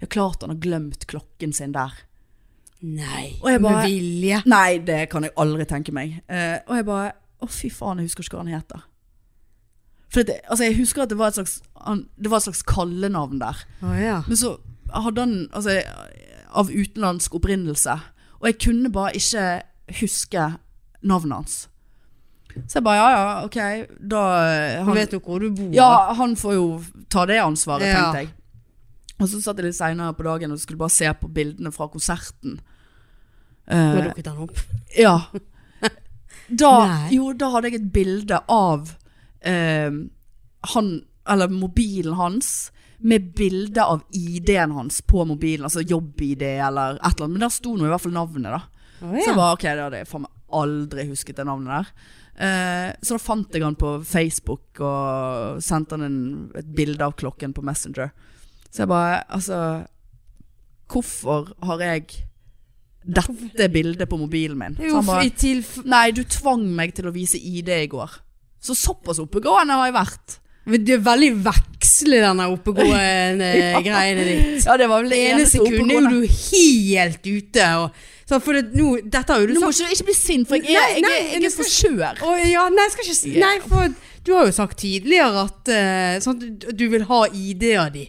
Speaker 2: jeg har klart han har glemt klokken sin der.
Speaker 1: Nei.
Speaker 2: Og jeg bare-
Speaker 1: Med vilje.
Speaker 2: Nei, det kan jeg aldri tenke meg. Eh, og jeg bare Å, fy faen, jeg husker ikke hva han heter. For det, altså, jeg husker at det var et slags, han, det var et slags kallenavn der.
Speaker 1: Å ja.
Speaker 2: Men så hadde han altså, av utenlandsk opprinnelse. Og jeg kunne bare ikke huske navnet hans. Så jeg bare ja, ja, ok. Da eh,
Speaker 1: Han
Speaker 2: han,
Speaker 1: vet jo hvor du bor.
Speaker 2: Ja, han får jo ta det ansvaret,
Speaker 1: Ja.
Speaker 2: tenkte jeg. Og så satt jeg litt seinere på dagen og skulle bare se på bildene fra konserten.
Speaker 1: Nå
Speaker 2: Eh,
Speaker 1: dukket han opp.
Speaker 2: ja.
Speaker 1: [laughs]
Speaker 2: Da,
Speaker 1: Nei.
Speaker 2: jo, da hadde jeg et bilde av eh, han, eller mobilen hans med bilde av ID-en hans på mobilen, altså jobb-ID eller et eller annet. Men der sto nå i hvert fall navnet, da.
Speaker 1: Å
Speaker 2: Så jeg
Speaker 1: ja.
Speaker 2: bare, ok, det hadde jeg faen meg aldri husket det navnet der. Eh, så da fant jeg han på Facebook og sendte han en, et bilde av klokken på Messenger. Så jeg bare, altså, hvorfor har jeg dette bildet på mobilen min.
Speaker 3: Det er jo
Speaker 2: Så han bare,
Speaker 3: i tilf...
Speaker 2: Nei, du tvang meg til å vise ID i går. Så såpass oppegående har jeg vært.
Speaker 1: Men Det er veldig vekslig denne
Speaker 2: [laughs]
Speaker 1: oppegående greiene ditt.
Speaker 2: Ja, det var vel
Speaker 1: Det ene sekundet er jo du helt ute. Og, så for det, nå, dette har jo du
Speaker 2: Nå må
Speaker 1: sagt.
Speaker 2: ikke, ikke bli sint, for jeg er,
Speaker 1: Nei,
Speaker 2: jeg,
Speaker 1: nei,
Speaker 2: er- jeg
Speaker 1: men
Speaker 2: er for
Speaker 1: skal-
Speaker 2: skjør.
Speaker 1: Å, ja, nei, jeg skal ikke si
Speaker 2: Ja.
Speaker 1: Nei, for du har jo sagt tidligere at eh, sånn, at du- du vil ha ID-er di.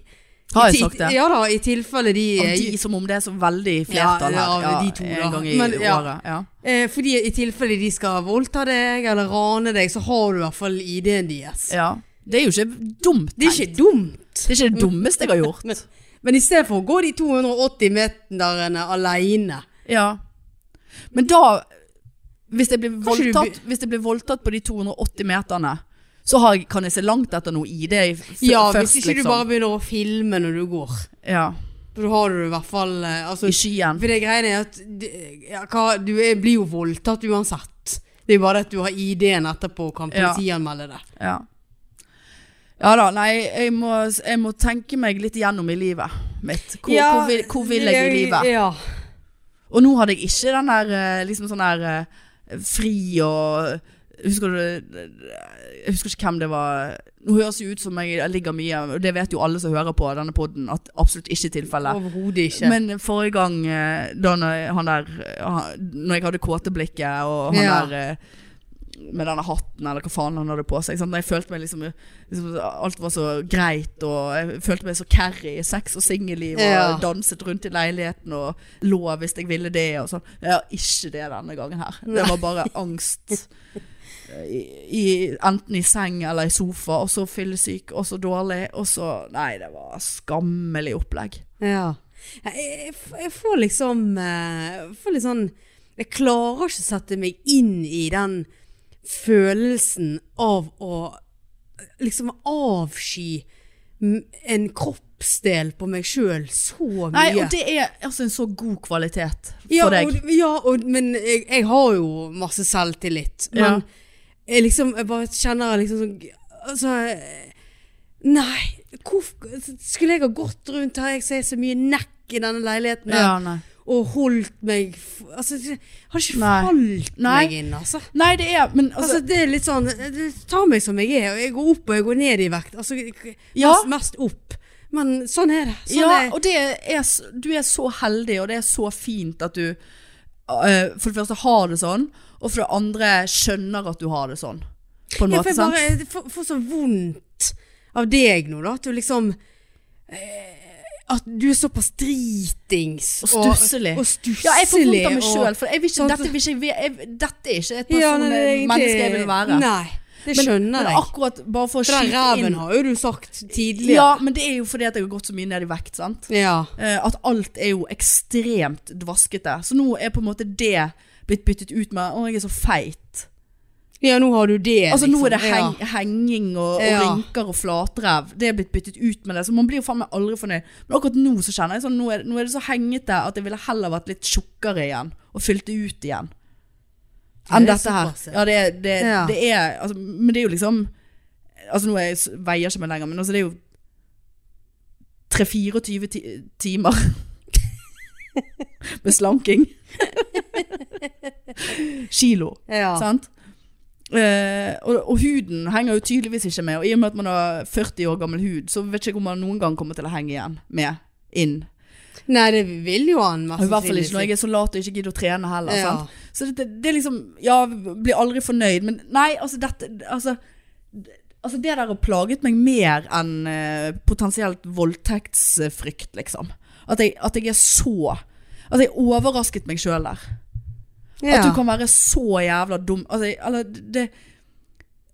Speaker 2: Har jeg
Speaker 1: I ti-
Speaker 2: sagt det?
Speaker 1: Ja da, i tilfelle de,
Speaker 2: Av
Speaker 1: eh,
Speaker 2: de, som om det er så veldig flertall
Speaker 1: Ja,
Speaker 2: her.
Speaker 1: ja, de to, da.
Speaker 2: En gang i
Speaker 1: Men, ja.
Speaker 2: året. Ja.
Speaker 1: eh, Fordi i tilfelle de skal voldta deg eller rane deg, så har du i hvert fall ID-en deres.
Speaker 2: ja. Det er jo ikke dumt.
Speaker 1: Det er
Speaker 2: tenkt.
Speaker 1: ikke dumt.
Speaker 2: det er ikke det dummeste jeg har
Speaker 1: [laughs]
Speaker 2: gjort.
Speaker 1: Men, men i stedet for å gå de 280 meterne alene
Speaker 2: Ja. Men da Hvis jeg blir
Speaker 1: Kanskje du
Speaker 2: voldtatt, hvis jeg blir voldtatt på de 280 meterne, så har jeg, kan jeg se langt etter noe ID f-
Speaker 1: Ja,
Speaker 2: først,
Speaker 1: hvis ikke du
Speaker 2: liksom.
Speaker 1: bare begynner å filme når du går.
Speaker 2: ja.
Speaker 1: Da har du i hvert fall eh, altså,
Speaker 2: I skyen.
Speaker 1: For det greiene er at det- ja, hva, du er, blir jo voldtatt uansett. Det er bare det at du har ID-en etterpå og kan
Speaker 2: Ja.
Speaker 1: politianmelde det.
Speaker 2: Ja. Ja da, nei, jeg må, jeg må tenke meg litt gjennom i livet mitt. Hvor, hvor, vil, hvor vil jeg i livet?
Speaker 1: Ja.
Speaker 2: Og nå hadde jeg ikke den der eh, liksom sånn der eh, fri og Husker du Jeg husker ikke hvem det var. Nå høres det ut som jeg ligger mye, og det vet jo alle som hører på denne podden at absolutt ikke er tilfellet.
Speaker 1: Overhodet ikke.
Speaker 2: Men forrige gang eh, da når han der eh, han- Når jeg hadde kåteblikket og han
Speaker 1: Ja.
Speaker 2: der eh, med denne hatten eller hva faen han hadde på seg. Sant? Jeg følte meg liksom, liksom Alt var så greit, og jeg følte meg så carry i sex og singelliv. Og
Speaker 1: Ja.
Speaker 2: danset rundt i leiligheten og lå hvis jeg ville det. Og sånn. Jeg har ikke det denne gangen her. Det var bare angst. eh, I, i, enten i seng eller i sofa, og så fyllesyk, og så dårlig, og så Nei, det var skammelig opplegg.
Speaker 1: Ja. Jeg, jeg, f- jeg får liksom eh, jeg får litt sånn Jeg klarer ikke å sette meg inn i den følelsen av å liksom avsky m- en kroppsdel på meg sjøl så mye.
Speaker 2: Nei, og det er altså en så god kvalitet for
Speaker 1: ja,
Speaker 2: deg.
Speaker 1: Og, ja, og, men jeg, jeg har jo masse selvtillit. Men jeg liksom Jeg bare kjenner liksom sånn Altså Nei, hvorfor skulle jeg ha gått rundt her? Jeg ser så mye nekk i denne leiligheten. her,
Speaker 2: Ja, nei.
Speaker 1: Og holdt meg f- Altså, det har ikke
Speaker 2: Nei.
Speaker 1: falt
Speaker 2: Nei.
Speaker 1: meg inn, altså.
Speaker 2: Nei, det er Men altså,
Speaker 1: Altså, det er litt sånn det tar meg som jeg er, og jeg går opp og jeg går ned i vekt. Altså, jeg-
Speaker 2: Ja.
Speaker 1: mest, mest opp. Men sånn er det. Sånn
Speaker 2: Ja,
Speaker 1: er,
Speaker 2: og det er s- Du er så heldig, og det er så fint at du eh, for det første har det sånn, og for det andre skjønner at du har det sånn. På en
Speaker 1: Ja, for
Speaker 2: måte,
Speaker 1: jeg
Speaker 2: sant?
Speaker 1: bare jeg får, får så vondt av deg nå, da. At du liksom eh, At du er såpass dritings.
Speaker 2: Og stusselig.
Speaker 1: Og, og stusselig.
Speaker 2: Ja, jeg får vondt av meg
Speaker 1: og-
Speaker 2: sjøl, for jeg vil ikke,
Speaker 1: Sant?
Speaker 2: dette, vil ikke, jeg ve- jeg, dette er ikke et person,
Speaker 1: Ja, nei, det er egentlig-
Speaker 2: menneske jeg vil være.
Speaker 1: Nei, det skjønner
Speaker 2: men, men
Speaker 1: jeg.
Speaker 2: akkurat bare for å
Speaker 1: For den
Speaker 2: skyte
Speaker 1: reven
Speaker 2: inn
Speaker 1: har jo du sagt tidligere.
Speaker 2: Ja, men det er jo fordi at jeg har gått så mye ned i vekt, sant.
Speaker 1: Ja.
Speaker 2: Eh, At alt er jo ekstremt dvaskete. Så nå er på en måte det blitt byttet ut med Å, jeg er så feit.
Speaker 1: Ja, nå har du det.
Speaker 2: Altså Nå
Speaker 1: liksom.
Speaker 2: er det heng, henging og, og
Speaker 1: Ja.
Speaker 2: rynker og flatrev. Det er blitt byttet ut med det. Så man blir jo faen meg aldri fornøyd. Men akkurat nå så kjenner jeg sånn Nå er, nå er det så hengete at jeg ville heller vært litt tjukkere igjen. Og fylt det ut igjen. Enn
Speaker 1: Det er
Speaker 2: dette her.
Speaker 1: såpass, ja.
Speaker 2: Ja, det, er- det,
Speaker 1: Ja.
Speaker 2: det er altså, Men det er jo liksom Altså nå er jeg, s- veier ikke meg lenger, men altså det er jo 3-24 ti timer [laughs]
Speaker 1: [laughs]
Speaker 2: med slanking. Kilo,
Speaker 1: Ja.
Speaker 2: sant? Eh, og, og huden henger jo tydeligvis ikke med, og i og med at man har 40 år gammel hud, så vet jeg ikke om man noen gang kommer til å henge igjen med inn.
Speaker 1: Nei, det vil jo han mest
Speaker 2: Og I hvert fall ikke når jeg er så lat og ikke gidder å trene heller.
Speaker 1: Altså, Ja.
Speaker 2: Sant? Så det, det er liksom Ja, blir aldri fornøyd, men nei, altså dette Altså, altså det der har plaget meg mer enn eh, potensielt voldtektsfrykt, liksom. At jeg, at jeg er så At jeg overrasket meg sjøl der.
Speaker 1: ja.
Speaker 2: At du kan være så jævla dum altså, jeg- Eller det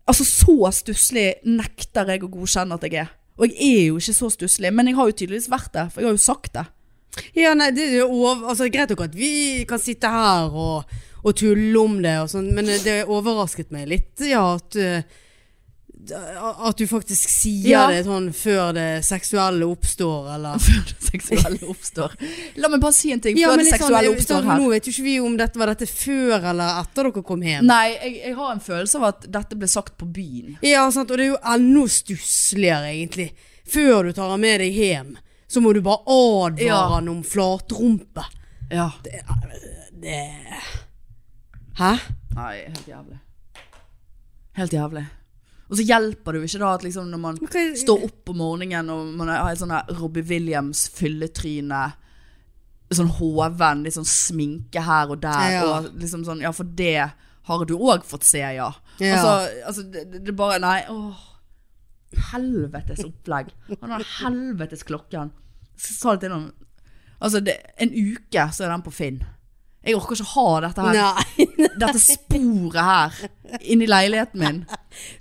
Speaker 2: Altså så stusslig nekter jeg å godkjenne at jeg er Og jeg er jo ikke så stusslig Men jeg har jo tydeligvis vært det For jeg har jo sagt det [laughs]
Speaker 1: Ja, nei, det er jo over, altså, greit nok at vi kan sitte her og, og tulle om det og sånn, men det overrasket meg litt, ja, at, eh, at du faktisk sier
Speaker 2: Ja.
Speaker 1: det sånn før det seksuelle oppstår, eller...
Speaker 2: Før det seksuelle oppstår La meg bare si en ting Før
Speaker 1: men
Speaker 2: det
Speaker 1: litt sånn,
Speaker 2: seksuelle
Speaker 1: eh,
Speaker 2: oppstår
Speaker 1: sånn,
Speaker 2: her
Speaker 1: Nå vet jo ikke vi om dette var dette før eller etter dere kom hjem.
Speaker 2: Nei, jeg, jeg har en følelse av at dette ble sagt på byen
Speaker 1: Ja, sant, og det er jo enda stussligere egentlig. Før du tar han med deg hjem, så må du bare advare
Speaker 2: Ja.
Speaker 1: han om flatrumpe.
Speaker 2: Ja.
Speaker 1: Det Hæ?
Speaker 2: Nei, helt jævlig. Helt jævlig. Og så hjelper det jo ikke da at liksom når man
Speaker 1: hva-
Speaker 2: står opp om morgenen og man har et sånn der Robbie Williams fylletryne, sånn hoven, litt sånn sminke her og der,
Speaker 1: Ja.
Speaker 2: og liksom sånn, ja for det har du òg fått se, ja.
Speaker 1: Ja.
Speaker 2: Altså, altså det, det det bare, nei, åh. Helvetes opplegg. Han har helvetes klokken. Så sa det til noen, altså det, en uke så er den på Finn. Jeg orker ikke ha dette her [laughs]
Speaker 1: Nei.
Speaker 2: dette sporet her inn i leiligheten min.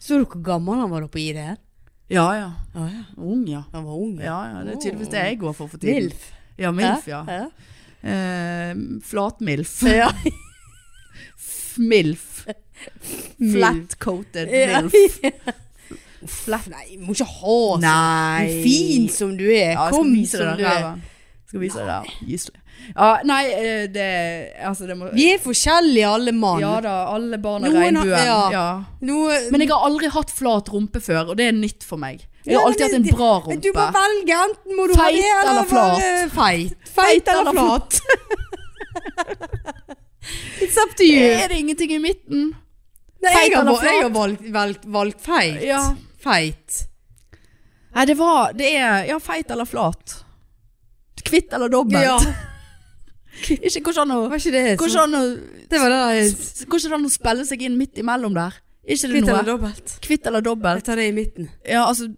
Speaker 1: Så du hvor gammel han var da på ID?
Speaker 2: Ja, ja.
Speaker 1: Å ja.
Speaker 2: Ung, ja.
Speaker 1: Han var ung.
Speaker 2: Ja, ja, Det er tydeligvis det jeg går for for tiden.
Speaker 1: Milf.
Speaker 2: Ja, milf, ja. [laughs]
Speaker 1: Ja.
Speaker 2: Eh,
Speaker 1: [laughs]
Speaker 2: Flatmilf.
Speaker 1: Ja.
Speaker 2: Milf.
Speaker 1: Milf.
Speaker 2: Flat-coated
Speaker 1: Ja.
Speaker 2: milf.
Speaker 1: Flaff. Nei, må ikke ha sånn.
Speaker 2: Nei.
Speaker 1: Fin som du er.
Speaker 2: Ja, jeg skal
Speaker 1: Kom
Speaker 2: vise
Speaker 1: som
Speaker 2: deg
Speaker 1: du
Speaker 2: den
Speaker 1: er.
Speaker 2: ræva. Skal vise deg der. Gyselig. Ja, nei, eh, det Altså, det må
Speaker 1: Vi er forskjellige alle mann.
Speaker 2: Ja da, alle barn har
Speaker 1: Noen har-
Speaker 2: regnbuen.
Speaker 1: ja.
Speaker 2: Ja.
Speaker 1: Noe,
Speaker 2: Men jeg har aldri hatt flat rumpe før, og det er nytt for meg. Jeg
Speaker 1: Ja,
Speaker 2: har alltid hatt
Speaker 1: men
Speaker 2: en bra
Speaker 1: det-
Speaker 2: rumpe.
Speaker 1: Du må velge, enten må du ha
Speaker 2: Feit
Speaker 1: det eller,
Speaker 2: eller flat?
Speaker 1: være Feit. Feit eller flat. [laughs] It's up to you.
Speaker 2: Er det ingenting i midten?
Speaker 1: Eh, Nei,
Speaker 2: Feit
Speaker 1: jeg har,
Speaker 2: eller
Speaker 1: val- jeg
Speaker 2: flat?
Speaker 1: har valgt, valgt, valgt feit.
Speaker 2: Ja.
Speaker 1: Feit.
Speaker 2: Nei, det var Det er ja, feit eller flat. Kvitt eller dobbelt.
Speaker 1: Ja.
Speaker 2: [laughs] Ikke går ikke an å
Speaker 1: Var ikke det
Speaker 2: Går
Speaker 1: sånn?
Speaker 2: ikke an å
Speaker 1: Det var da eh,
Speaker 2: Går ikke an å spille seg inn midt imellom der? Er Ikke det
Speaker 1: kvitt eller
Speaker 2: noe?
Speaker 1: dobbelt.
Speaker 2: Kvitt eller
Speaker 1: Jeg
Speaker 2: dobbelt?
Speaker 1: tar det i midten.
Speaker 2: Ja, altså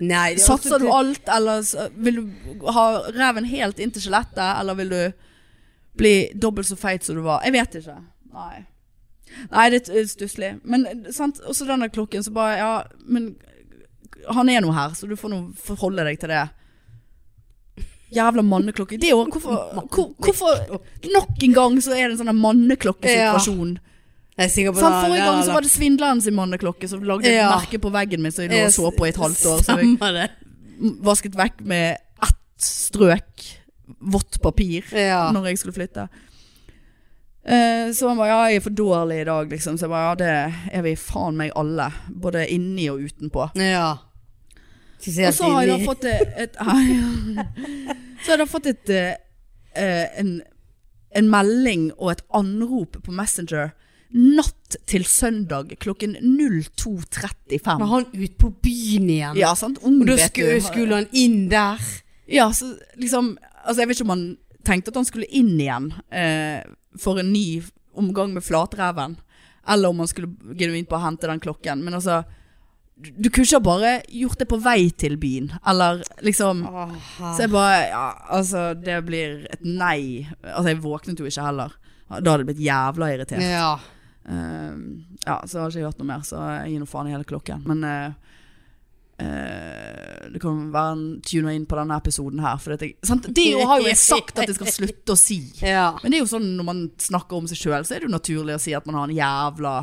Speaker 1: Nei, det er
Speaker 2: Satser
Speaker 1: også-
Speaker 2: du alt, eller s- vil du ha reven helt inn til skjelettet, eller vil du bli dobbelt så feit som du var? Jeg vet ikke. Nei. Nei, det er t- stusslig. Men eh, sant, også den der klokken, så bare Ja, men han er nå her, så du får nå forholde deg til det. Jævla manneklokke. Det er jo hvorfor, hvor, hvorfor Nok en gang så er det en sånn der manneklokkesituasjon.
Speaker 1: Jeg er sikker på
Speaker 2: Sant,
Speaker 1: det.
Speaker 2: forrige
Speaker 1: Der
Speaker 2: gang så
Speaker 1: alle-
Speaker 2: var det svindleren sin manneklokke som lagde et
Speaker 1: Ja.
Speaker 2: merke på veggen min som jeg lå og så på i et halvt år. Så jeg
Speaker 1: Stemmer det.
Speaker 2: vasket vekk med ett strøk vått papir
Speaker 1: Ja.
Speaker 2: når jeg skulle flytte. Eh, Så han bare, ja, jeg er for dårlig i dag, liksom. Så jeg bare, ja, det er vi faen meg alle. Både inni og utenpå.
Speaker 1: ja.
Speaker 2: Og
Speaker 1: Spesielt
Speaker 2: så har jeg da
Speaker 1: inni.
Speaker 2: fått et, et [laughs] ja. Så har jeg da fått et eh, eh, en, en melding og et anrop på Messenger natt til søndag klokken 02.35.
Speaker 1: Men han ut på byen igjen.
Speaker 2: Ja, sant? Ung,
Speaker 1: Og da
Speaker 2: vet
Speaker 1: skulle,
Speaker 2: du.
Speaker 1: skulle han inn der.
Speaker 2: Ja, så liksom Altså, jeg vet ikke om han tenkte at han skulle inn igjen eh, for en ny omgang med flatreven. Eller om han skulle genuint bare hente den klokken. Men altså Du, du kunne ikke ha bare gjort det på vei til byen, eller liksom
Speaker 1: Ah.
Speaker 2: Så jeg bare Ja, altså, det blir et nei. Altså, jeg våknet jo ikke heller. Da hadde jeg blitt jævla irritert.
Speaker 1: Ja.
Speaker 2: Ehm, ja, så har jeg ikke hørt noe mer, så jeg gir noe faen i hele klokken. Men eh, eh, det kan være en tuner inn på denne episoden her. For at jeg, sant? Det jo har jo jeg sagt at jeg skal slutte å si.
Speaker 1: ja.
Speaker 2: Men det er jo sånn når man snakker om seg sjøl, så er det jo naturlig å si at man har en jævla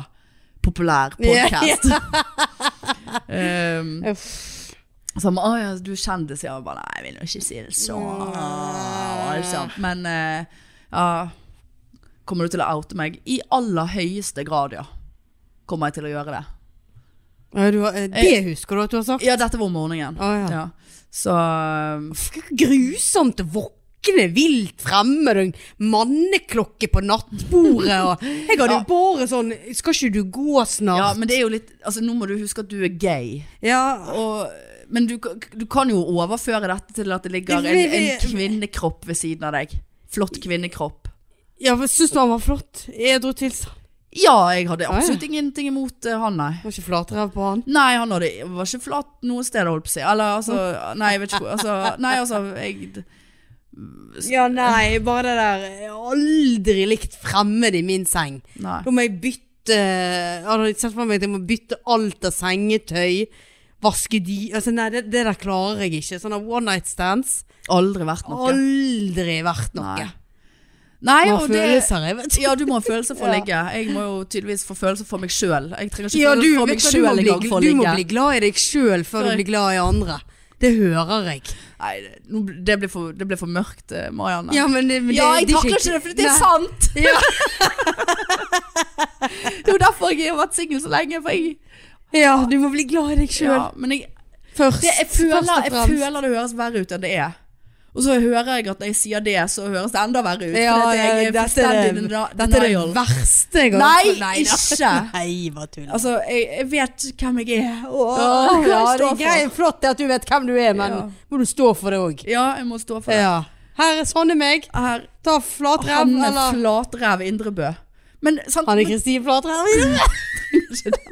Speaker 2: populær podkast.
Speaker 1: [laughs]
Speaker 2: Ehm,
Speaker 1: Uff.
Speaker 2: så han ba, «Å ja, du er kjendis, ja. Jeg bare, nei, jeg vil jo ikke si det sånn. Ikke sant? Men eh, ja, kommer du til å oute meg? I aller høyeste grad, ja. Kommer jeg til å gjøre det.
Speaker 1: Ja, du har- eh, Det husker du at du har sagt?
Speaker 2: Ja, dette var om morgenen.
Speaker 1: Å, ja.
Speaker 2: Ja. Så um,
Speaker 1: Uff, hvor Grusomt å våkne vilt fremmed og en manneklokke på nattbordet.
Speaker 2: [laughs]
Speaker 1: Og jeg hadde jo bare sånn Skal ikke du gå
Speaker 2: ja,
Speaker 1: snart?
Speaker 2: men det er jo litt Altså, nå må du huske at du er gay.
Speaker 1: Ja.
Speaker 2: Og, men du, ka- du kan jo overføre dette til at det ligger en, en kvinnekropp ved siden av deg. Flott kvinnekropp.
Speaker 1: ja men Syns du han var flott? Edru tilstand.
Speaker 2: Ja, jeg hadde absolutt ingenting imot eh, han, nei.
Speaker 1: Var ikke flatrev på han?
Speaker 2: Nei, han hadde, var ikke flat noe sted, holdt på å si. Eller
Speaker 1: [laughs]
Speaker 2: altså Nei, jeg vet ikke hvor. Altså, nei, altså jeg,
Speaker 1: Ja, nei, bare det der Jeg har aldri likt fremmed i min seng.
Speaker 2: Nei.
Speaker 1: Da må jeg bytte Jeg hadde sett for meg at jeg må bytte alt av sengetøy. Vaske de altså, Nei, det, det der klarer jeg ikke. Sånne one night stands.
Speaker 2: Aldri vært noe.
Speaker 1: Aldri vært noe.
Speaker 2: Nei. Nei,
Speaker 1: Må ha
Speaker 2: og det
Speaker 1: følelser, jeg vet ikke.
Speaker 2: ja, du må ha følelser for
Speaker 1: [laughs]
Speaker 2: å
Speaker 1: Ja.
Speaker 2: ligge. Jeg må jo tydeligvis få følelser for meg sjøl. Jeg trenger ikke
Speaker 1: Ja, du,
Speaker 2: følelser for
Speaker 1: vet
Speaker 2: meg
Speaker 1: hva, du, må
Speaker 2: sjøl
Speaker 1: bli,
Speaker 2: engang for å
Speaker 1: du må
Speaker 2: ligge.
Speaker 1: bli glad i deg sjøl før
Speaker 2: Før-
Speaker 1: du blir glad i andre. Det hører jeg.
Speaker 2: Nei, det- nå ble- det ble for, det ble for mørkt, eh, Marianne.
Speaker 1: Ja, men, det- men
Speaker 2: Ja,
Speaker 1: det-
Speaker 2: jeg
Speaker 1: det er
Speaker 2: takler ikke det, for det er
Speaker 1: Nei.
Speaker 2: sant!
Speaker 1: [laughs] Ja.
Speaker 2: [laughs] Det er jo derfor jeg har vært singel så lenge. For jeg,
Speaker 1: Ja, du må bli glad i deg sjøl
Speaker 2: ja, men jeg,
Speaker 1: først.
Speaker 2: det, jeg, føler,
Speaker 1: Altså, først og
Speaker 2: jeg
Speaker 1: fremst.
Speaker 2: føler det høres verre ut enn det er. Og Og så hører jeg at når jeg sier det, så høres det enda verre ut.
Speaker 1: Ja,
Speaker 2: fordi at jeg er
Speaker 1: dette er det,
Speaker 2: fullstendig dena-
Speaker 1: dette er det
Speaker 2: denial.
Speaker 1: verste jeg har
Speaker 2: Nei,
Speaker 1: hørt. da.
Speaker 2: ikke.
Speaker 1: Nei, bare tull.
Speaker 2: Altså, jeg, jeg vet hvem jeg er. Åh,
Speaker 1: Åh,
Speaker 2: hva
Speaker 1: ja, det
Speaker 2: jeg står
Speaker 1: er
Speaker 2: for.
Speaker 1: greit, flott det at du vet hvem du er, men
Speaker 2: Ja.
Speaker 1: må du stå for det òg.
Speaker 2: Ja, jeg må stå for det.
Speaker 1: Ja. Her er sånn er meg.
Speaker 2: Her,
Speaker 1: Ta flatrev,
Speaker 2: Hanne
Speaker 1: eller
Speaker 2: Flatrev Indrebø. Men sant,
Speaker 1: Hanne
Speaker 2: men
Speaker 1: Kristin Flatrev.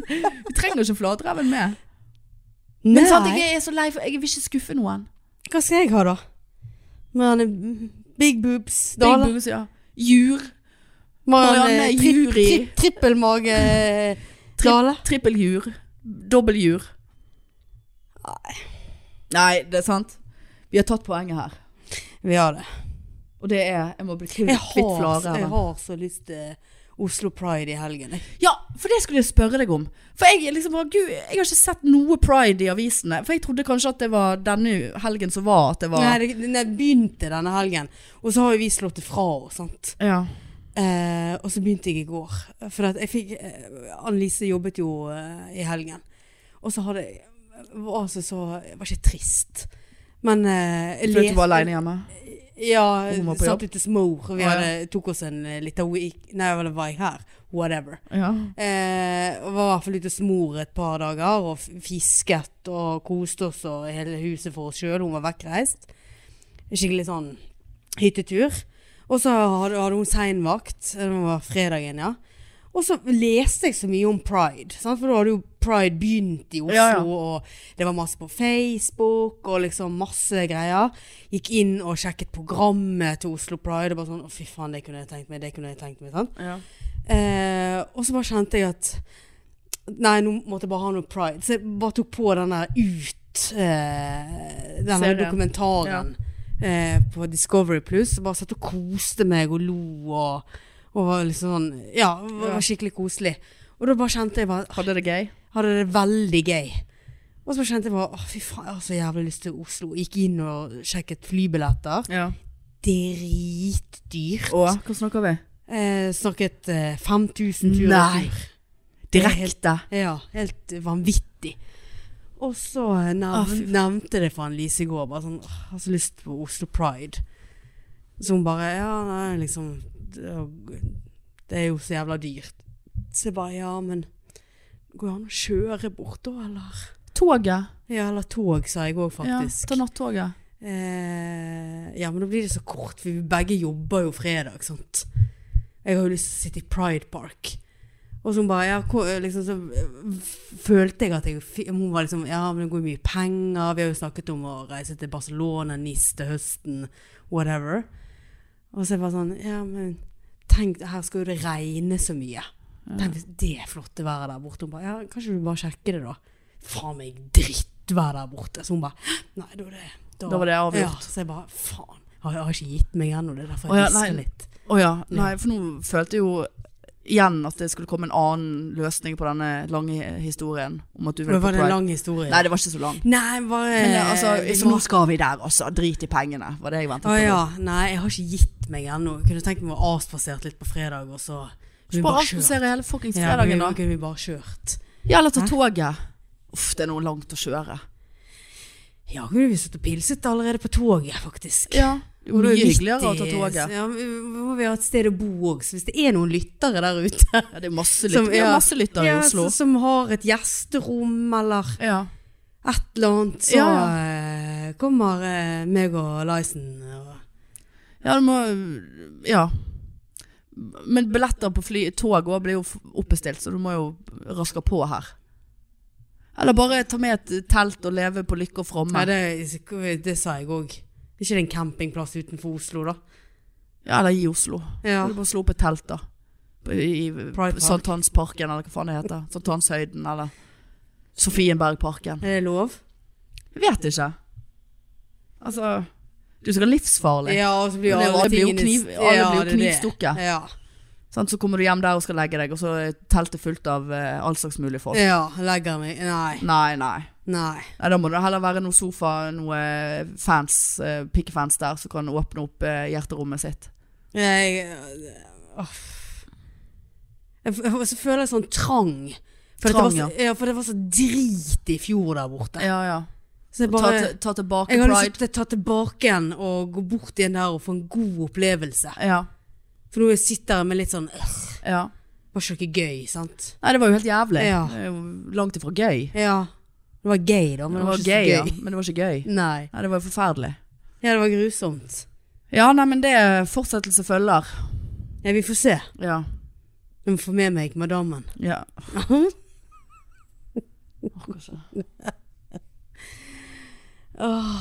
Speaker 2: vi trenger ikke Flatreven med. Men sant,
Speaker 1: Nei.
Speaker 2: jeg er så lei for Jeg vil ikke skuffe noen.
Speaker 1: Hva skal jeg ha, da? Marianne Big Boobs
Speaker 2: Big
Speaker 1: Dale.
Speaker 2: Boobs, ja. Jur.
Speaker 1: Marianne
Speaker 2: Marianne
Speaker 1: tri
Speaker 2: Juri.
Speaker 1: tri Trippelmage
Speaker 2: Tri-
Speaker 1: Dale.
Speaker 2: Trippeljur. Dobbeljur. Nei. Nei, det er sant. Vi har tatt poenget her.
Speaker 1: Vi har det.
Speaker 2: Og det er Jeg må bli kvitt
Speaker 1: Jeg
Speaker 2: kvitt
Speaker 1: har, jeg
Speaker 2: flareven.
Speaker 1: har så lyst til Oslo Pride i helgen. jeg.
Speaker 2: Ja, for det skulle jeg spørre deg om. For jeg er liksom bare, Gud, jeg har ikke sett noe pride i avisene. For jeg trodde kanskje at det var denne helgen som var at det var
Speaker 1: Nei, det, den der begynte denne helgen, og så har jo vi slått det fra oss, sant.
Speaker 2: Ja.
Speaker 1: Eh, og så begynte jeg i går. For at jeg fikk eh, Annelise jobbet jo eh, i helgen. Og så hadde jeg var altså så Jeg var ikke trist. Men eh, jeg
Speaker 2: Fordi du var
Speaker 1: leste-
Speaker 2: alene hjemme?
Speaker 1: Ja,
Speaker 2: Og hun var på
Speaker 1: satt ute hos mor. og Vi
Speaker 2: Å, ja.
Speaker 1: hadde, tok oss en eh, liten week Nei, vel, var jeg her? Whatever.
Speaker 2: Ja.
Speaker 1: Eh, og var i hvert fall ute hos mor et par dager og f- fisket og koste oss og hele huset for oss sjøl. Hun var vekkreist. Skikkelig sånn hyttetur. Og så hadde, hadde hun seinvakt. Det var fredagen, ja. Og så leste jeg så mye om pride, sant? for da hadde jo pride begynt i Oslo,
Speaker 2: Ja, ja.
Speaker 1: og det var masse på Facebook, og liksom masse greier. Gikk inn og sjekket programmet til Oslo Pride, og bare sånn, å fy faen, det kunne jeg tenkt meg, det kunne jeg tenkt meg, sant?
Speaker 2: ja.
Speaker 1: Eh, og så bare kjente jeg at Nei, nå måtte jeg bare ha noe pride. Så jeg bare tok på denne ut eh, Denne
Speaker 2: Serien.
Speaker 1: dokumentaren eh, på Discovery Pluss. Bare satt og koste meg og lo og, og var liksom sånn Ja, var,
Speaker 2: Ja.
Speaker 1: var skikkelig koselig. Og da bare kjente jeg bare
Speaker 2: Hadde det gøy?
Speaker 1: Hadde det veldig gøy. Og så bare kjente jeg bare Å, fy faen, jeg har så jævlig lyst til Oslo. Gikk inn og sjekket flybilletter.
Speaker 2: Ja.
Speaker 1: Dritdyrt.
Speaker 2: Og hva snakker vi?
Speaker 1: Eh, snakket eh, 5000 tur og
Speaker 2: Nei.
Speaker 1: tur.
Speaker 2: Direkte.
Speaker 1: Ja, helt vanvittig. Og så
Speaker 2: Å,
Speaker 1: nev
Speaker 2: Ah, fy faen.
Speaker 1: nevnte det for han Lise i går. Bare sånn, «Åh, jeg har så lyst på Oslo Pride. Så hun bare Ja, nei, liksom Det er- det er jo så jævla dyrt. Så jeg bare Ja, men går det an å kjøre bort da, eller?
Speaker 2: Toget.
Speaker 1: Ja, eller tog, sa jeg òg,
Speaker 2: Ja,
Speaker 1: faktisk.
Speaker 2: ta nattoget.
Speaker 1: Eh, ja, men da blir det så kort, for vi begge jobber jo fredag, sant? Jeg har jo lyst til å sitte i Pride Park. Og så hun bare, ja, hvor- liksom, så eh, f- følte jeg at jeg, fi- hun var liksom, ja, men det går jo mye penger, vi har jo snakket om å reise til Barcelona, Nis til høsten, whatever. Og så jeg bare sånn, ja, men tenk, her skal jo det regne så mye. Tenk hvis det er flotte været der borte. Hun bare, ja, kanskje du bare sjekker det da? Faen meg drittvær der borte. Så hun bare, nei, da er det...
Speaker 2: Da var det avgjort.
Speaker 1: Ja, så jeg bare, faen, jeg har ikke gitt meg ennå, det er derfor
Speaker 2: Å ja,
Speaker 1: jeg husker
Speaker 2: nei.
Speaker 1: litt.
Speaker 2: Å ja. Nei, for nå følte jeg jo igjen at det skulle komme en annen løsning på denne lange historien om at du ville
Speaker 1: Det
Speaker 2: på
Speaker 1: var det en
Speaker 2: pride.
Speaker 1: lang historie.
Speaker 2: Nei, det var ikke så lang.
Speaker 1: Nei, bare
Speaker 2: Men eh, altså,
Speaker 1: vi
Speaker 2: så nå
Speaker 1: må-
Speaker 2: skal vi der, altså. Drit i pengene, var det jeg ventet
Speaker 1: Å
Speaker 2: på.
Speaker 1: ja. Nei, jeg har ikke gitt meg ennå. Jeg Kunne tenkt meg å avspasere litt på fredag, og så kunne vi
Speaker 2: Bare
Speaker 1: bare kjørt.
Speaker 2: avspasere hele fuckings
Speaker 1: Ja,
Speaker 2: fredagen,
Speaker 1: kunne-
Speaker 2: da.
Speaker 1: kunne vi bare kjørt.
Speaker 2: Ja, eller ta
Speaker 1: Hæ?
Speaker 2: toget. Uff, det er noe langt å kjøre.
Speaker 1: Ja, kunne vi sittet og pilset allerede på toget, faktisk.
Speaker 2: Det er mye
Speaker 1: Midt
Speaker 2: hyggeligere å ta
Speaker 1: i-
Speaker 2: toget.
Speaker 1: Ja, men vi må vi ha et sted å bo òg, så hvis det er noen lyttere der ute
Speaker 2: Ja, det er masse
Speaker 1: Som-
Speaker 2: lyttere Vi har
Speaker 1: ja.
Speaker 2: masse lyttere i
Speaker 1: ja,
Speaker 2: Oslo.
Speaker 1: så- Som har et gjesterom, eller
Speaker 2: Ja.
Speaker 1: et eller annet, så
Speaker 2: Ja,
Speaker 1: eh, kommer eh, meg og Lyson og
Speaker 2: Ja, du må Ja. Men billetter på fly, tog òg blir jo f- oppbestilt, så du må jo raske på her. Eller bare ta med et telt og leve på lykke og fromme.
Speaker 1: Nei, det, det sa jeg òg. Ikke det er en campingplass utenfor Oslo, da?
Speaker 2: Ja, eller i Oslo.
Speaker 1: Ja.
Speaker 2: Du må slå opp et telt, da. På- I, i
Speaker 1: Park.
Speaker 2: Sankthansparken, eller hva faen det heter. Sankthanshøyden, eller Sofienbergparken.
Speaker 1: Er det lov?
Speaker 2: Jeg vet ikke. Altså Du skal være livsfarlig.
Speaker 1: Ja, og så blir
Speaker 2: Det
Speaker 1: alle
Speaker 2: blir jo
Speaker 1: tingene-
Speaker 2: kniv- alle blir
Speaker 1: det er
Speaker 2: jo
Speaker 1: det.
Speaker 2: knivstukket.
Speaker 1: Ja.
Speaker 2: Sant? Så kommer du hjem der og skal legge deg, og så er teltet fullt av eh, all slags mulig folk.
Speaker 1: ja. Legger meg Nei.
Speaker 2: Nei, nei.
Speaker 1: Nei.
Speaker 2: Nei, da må det heller være noen sofa, noen fans, eh, pikkefans der, som kan åpne opp eh, hjerterommet sitt.
Speaker 1: Jeg Uff. Jeg, f- jeg, så føler jeg sånn trang. For, at
Speaker 2: Trang,
Speaker 1: det var så, ja. for det var så drit i fjor der borte.
Speaker 2: Ja, ja.
Speaker 1: Så jeg
Speaker 2: Og ta,
Speaker 1: bare
Speaker 2: til- ta tilbake
Speaker 1: Jeg har lyst
Speaker 2: pride.
Speaker 1: til å ta tilbake igjen og gå bort igjen der og få en god opplevelse.
Speaker 2: Ja,
Speaker 1: For nå sitter jeg med litt sånn øh,
Speaker 2: ja.
Speaker 1: Var ikke noe gøy, sant?
Speaker 2: Nei, det var jo helt jævlig.
Speaker 1: Ja.
Speaker 2: Det er jo langt ifra gøy.
Speaker 1: Ja. Det var gøy, da, men det
Speaker 2: Det
Speaker 1: var,
Speaker 2: var
Speaker 1: ikke
Speaker 2: gøy, ja,
Speaker 1: så gøy. [laughs]
Speaker 2: men det var ikke gøy.
Speaker 1: Nei.
Speaker 2: Nei, det var jo forferdelig.
Speaker 1: Ja, det var grusomt.
Speaker 2: Ja, nei, men det fortsettelse følger.
Speaker 1: Ja, vi får se.
Speaker 2: Ja.
Speaker 1: Jeg må få med meg madammen. [laughs]
Speaker 2: ja.
Speaker 1: Åh,
Speaker 2: Orker ikke.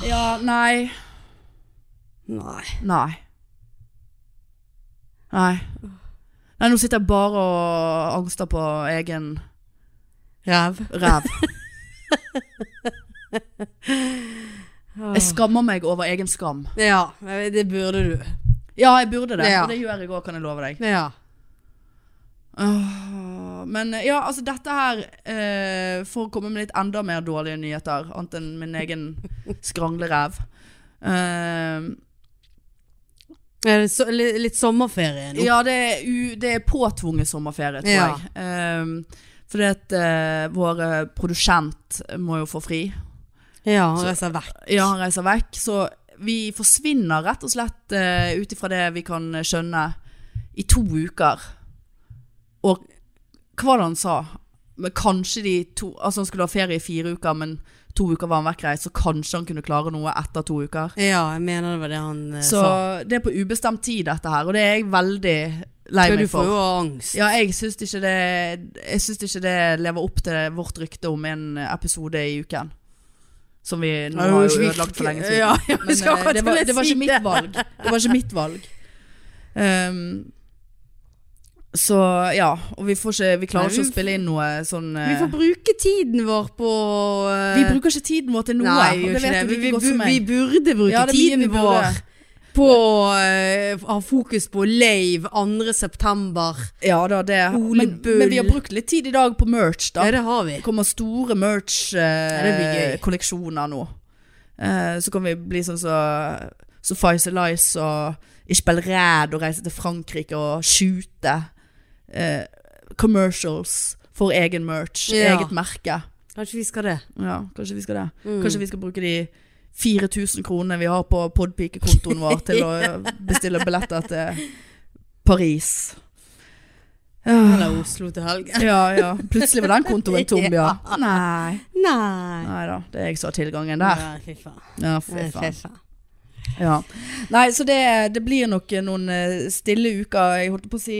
Speaker 2: Ja, nei.
Speaker 1: nei.
Speaker 2: Nei. Nei. Nei, nå sitter jeg bare og angster på egen
Speaker 1: Ræv.
Speaker 2: ræv. Jeg skammer meg over egen skam.
Speaker 1: Ja, det burde du.
Speaker 2: Ja, jeg burde det,
Speaker 1: Ja.
Speaker 2: og det gjør jeg òg, kan jeg love deg.
Speaker 1: Ja.
Speaker 2: Åh, Men ja, altså dette her eh, For å komme med litt enda mer dårlige nyheter Annet enn min egen skranglerev eh,
Speaker 1: Er det så, litt, litt sommerferie nå?
Speaker 2: Ja, det er, u, det er påtvunget sommerferie, tror
Speaker 1: Ja.
Speaker 2: jeg eh, Fordi at eh, vår eh, produsent må jo få fri
Speaker 1: Ja, han reiser vekk.
Speaker 2: Ja, han reiser vekk Så vi forsvinner rett og slett uh, Ut ifra det vi kan skjønne I to uker Og hva var det han sa? Men kanskje de to Altså han skulle ha ferie i fire uker Men to uker var han vekkreist Så kanskje han kunne klare noe etter to uker
Speaker 1: Ja, jeg mener det var det han eh,
Speaker 2: Så
Speaker 1: sa.
Speaker 2: det er på ubestemt tid dette her Og det er jeg veldig lei
Speaker 1: Men
Speaker 2: meg
Speaker 1: du får
Speaker 2: for
Speaker 1: jo angst.
Speaker 2: ja, jeg syns ikke det Jeg syns ikke det lever opp til vårt rykte om en episode i uken Som vi nå
Speaker 1: Ja, det
Speaker 2: har
Speaker 1: var
Speaker 2: jo
Speaker 1: ikke
Speaker 2: ødelagt for
Speaker 1: viktig.
Speaker 2: [laughs] lenge siden
Speaker 1: Ja, jeg
Speaker 2: men
Speaker 1: husker
Speaker 2: eh,
Speaker 1: akkurat
Speaker 2: det, var,
Speaker 1: jeg
Speaker 2: det
Speaker 1: skulle
Speaker 2: var ikke
Speaker 1: si
Speaker 2: mitt valg. [laughs] Det var ikke mitt valg. Ehm, så ja, og vi, får ikke, vi klarer
Speaker 1: Nei, vi
Speaker 2: ikke å
Speaker 1: f-
Speaker 2: spille inn noe sånn eh,
Speaker 1: Vi får bruke tiden vår på eh,
Speaker 2: vi bruker ikke tiden vår til noe.
Speaker 1: Nei, vi
Speaker 2: og
Speaker 1: gjør
Speaker 2: det
Speaker 1: ikke
Speaker 2: vet
Speaker 1: det.
Speaker 2: du
Speaker 1: Vi,
Speaker 2: like
Speaker 1: vi,
Speaker 2: godt som
Speaker 1: vi
Speaker 2: meg.
Speaker 1: burde bruke
Speaker 2: Ja, det er mye vi
Speaker 1: tiden
Speaker 2: burde.
Speaker 1: vår på å eh, ha fokus på Lave 2. september.
Speaker 2: Ja da, det
Speaker 1: Ole
Speaker 2: men,
Speaker 1: Bull.
Speaker 2: men vi har brukt litt tid i dag på merch, da.
Speaker 1: Ja, det har vi.
Speaker 2: Det kommer store
Speaker 1: det blir gøy.
Speaker 2: merch-kolleksjoner nå. Eh, så kan vi bli sånn så Suffice Alice og Ikke bell ræd og reise til Frankrike og shoote eh, commercials for egen merch,
Speaker 1: Ja.
Speaker 2: eget merke.
Speaker 1: Kanskje vi skal det.
Speaker 2: Ja, kanskje vi skal det.
Speaker 1: Mm.
Speaker 2: Kanskje vi skal bruke de 4000 kronene vi har på podpikekontoen vår til å
Speaker 1: [laughs]
Speaker 2: bestille billetter til Paris. Ja,
Speaker 1: Eller Oslo til helgen.
Speaker 2: ja. ja. Plutselig var den
Speaker 1: [laughs]
Speaker 2: kontoen tom, ja. Nei.
Speaker 1: Nei.
Speaker 2: Nei da, det er jeg som har tilgangen der.
Speaker 1: Nei, fy faen.
Speaker 2: Ja,
Speaker 1: Nei,
Speaker 2: fy
Speaker 1: fy
Speaker 2: faen.
Speaker 1: faen.
Speaker 2: Ja. Nei, så det, det blir nok noen eh, stille uker. Jeg holdt på å si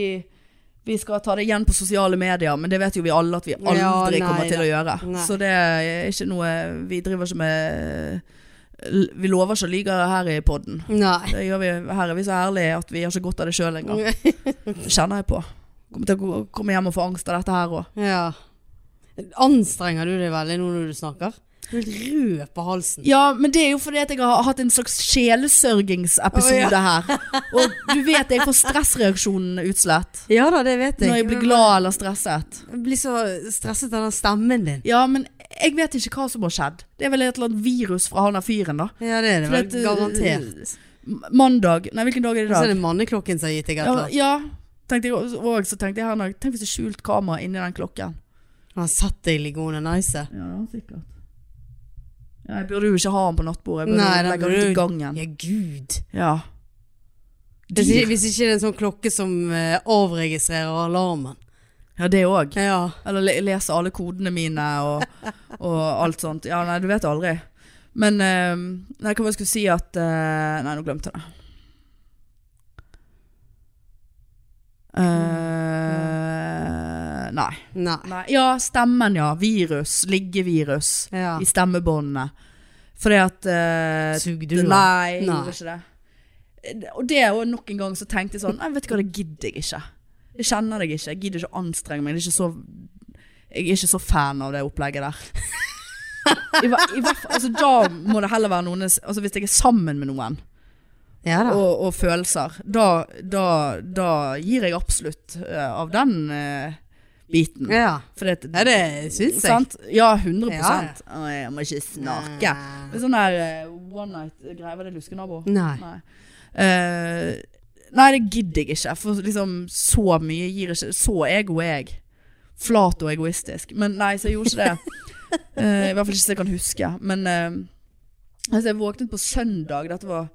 Speaker 2: vi skal ta det igjen på sosiale medier, men det vet jo vi alle at vi aldri
Speaker 1: Ja, nei
Speaker 2: kommer til
Speaker 1: da.
Speaker 2: å gjøre.
Speaker 1: Nei.
Speaker 2: Så det er ikke noe eh, Vi driver ikke med eh, Vi lover ikke å lyve her i poden.
Speaker 1: Nei. [laughs]
Speaker 2: Det gjør vi, her er vi så ærlige at vi har ikke godt av det sjøl engang.
Speaker 1: Mm.
Speaker 2: Det kjenner jeg på. Kommer til å gå- komme hjem og få angst av dette her òg.
Speaker 1: Ja. Anstrenger du deg veldig nå når du snakker? Du er helt rød på halsen.
Speaker 2: Ja, men det er jo fordi at jeg har hatt en slags sjelesørgingsepisode
Speaker 1: Å,
Speaker 2: her. Og du vet jeg får stressreaksjonen utslett.
Speaker 1: Ja da, det vet jeg.
Speaker 2: Når jeg blir glad eller stresset.
Speaker 1: Jeg blir så stresset av den stemmen din.
Speaker 2: Ja, men jeg vet ikke hva som har skjedd. Det er vel et eller annet virus fra han der fyren, da.
Speaker 1: Ja, det er det
Speaker 2: For
Speaker 1: vel.
Speaker 2: at, uh,
Speaker 1: Garantert.
Speaker 2: M- Mandag Nei, hvilken dag er det i
Speaker 1: Så er
Speaker 2: dag?
Speaker 1: det manneklokken som har gitt deg et
Speaker 2: Ja,
Speaker 1: eller annet.
Speaker 2: ja tenkte jeg også, og så tenkte jeg her nå, Tenk hvis det er skjult kamera inni den klokken.
Speaker 1: Han satt deg liggende nice.
Speaker 2: Ja, sikkert. Ja, jeg burde jo ikke ha han på nattbordet. Jeg burde
Speaker 1: Nei,
Speaker 2: jo
Speaker 1: den
Speaker 2: legge han ut i
Speaker 1: burde
Speaker 2: gangen.
Speaker 1: Ja, gud.
Speaker 2: Ja.
Speaker 1: Hvis ikke,
Speaker 2: Dyr.
Speaker 1: hvis ikke det er en sånn klokke som eh, avregistrerer alarmen.
Speaker 2: Ja, det òg.
Speaker 1: Ja.
Speaker 2: Eller le- lese alle kodene mine og, og alt sånt. Ja, nei, du vet aldri. Men eh, Nei, hva var det jeg skulle si at eh, Nei, nå glemte jeg det. Eh, nei.
Speaker 1: Nei.
Speaker 2: nei. Ja, stemmen, ja. Virus. Liggevirus
Speaker 1: Ja.
Speaker 2: i stemmebåndene. Fordi at eh,
Speaker 1: Sugde
Speaker 2: det-
Speaker 1: du av?
Speaker 2: Nei, jeg
Speaker 1: Nei.
Speaker 2: gjorde ikke det. Eh, Og det er jo nok en gang så tenkte jeg sånn Nei, vet du hva, det gidder jeg ikke. Jeg kjenner deg ikke. Jeg gidder ikke å anstrenge meg. Det er ikke så Jeg er ikke så fan av det opplegget der.
Speaker 1: [laughs]
Speaker 2: I, hva- i, hvert fall- altså, da må det heller være noen altså, Hvis jeg er sammen med noen
Speaker 1: Ja da.
Speaker 2: og, og følelser, da, da, da gir jeg absolutt eh, av den eh, biten.
Speaker 1: Ja.
Speaker 2: For det,
Speaker 1: ja, det syns jeg.
Speaker 2: sant? Ja, 100
Speaker 1: Ja, ja.
Speaker 2: Å, Jeg må ikke snakke. Det er sånn der eh, one night-greie. Var det luskenabo?
Speaker 1: Nei.
Speaker 2: Nei. Eh, nei, det gidder jeg ikke. For liksom så mye gir ikke Så ego er jeg. Flat og egoistisk. Men nei, så jeg gjorde ikke det. Eh, I hvert fall ikke så jeg kan huske. Men eh, Altså, jeg våknet på søndag, dette var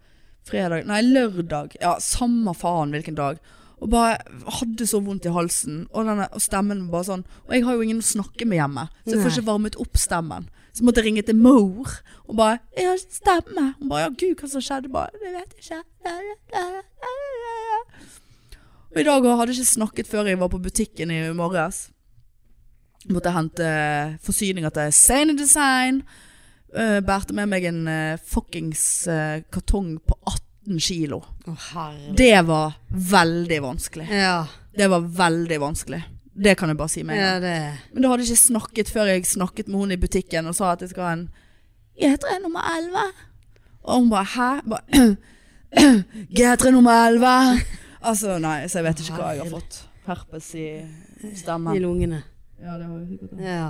Speaker 2: fredag, nei, lørdag, ja, samme faen hvilken dag. Og bare hadde så vondt i halsen, og, denne, og stemmen var bare sånn, og jeg har jo ingen å snakke med hjemme, så jeg får
Speaker 1: Nei.
Speaker 2: ikke varmet opp stemmen. Så måtte jeg ringe til mor, og bare, jeg har ikke stemme. Hun bare, ja gud, hva som skjedde? Jeg Bare, jeg vet ikke. Og i dag hadde jeg ikke snakket før jeg var på butikken i morges. Måtte hente forsyninger til Sane Design. Uh, bærte med meg en eh, fuckings eh, kartong på 18 kilo.
Speaker 1: Å, herre.
Speaker 2: Det var veldig vanskelig.
Speaker 1: Ja,
Speaker 2: Det var veldig vanskelig. Det kan jeg bare si med en gang.
Speaker 1: ja, det
Speaker 2: Men da hadde jeg ikke snakket før jeg snakket med hun i butikken og sa at jeg skal ha en G3 nummer 11. Og hun bare hæ? Bare, [clears throat] G3 nummer 11! Altså nei, så jeg vet ikke hva jeg har fått. Herpes i
Speaker 1: I
Speaker 2: stemmen.
Speaker 1: lungene.
Speaker 2: Ja, det har jeg sikkert.
Speaker 1: Ja.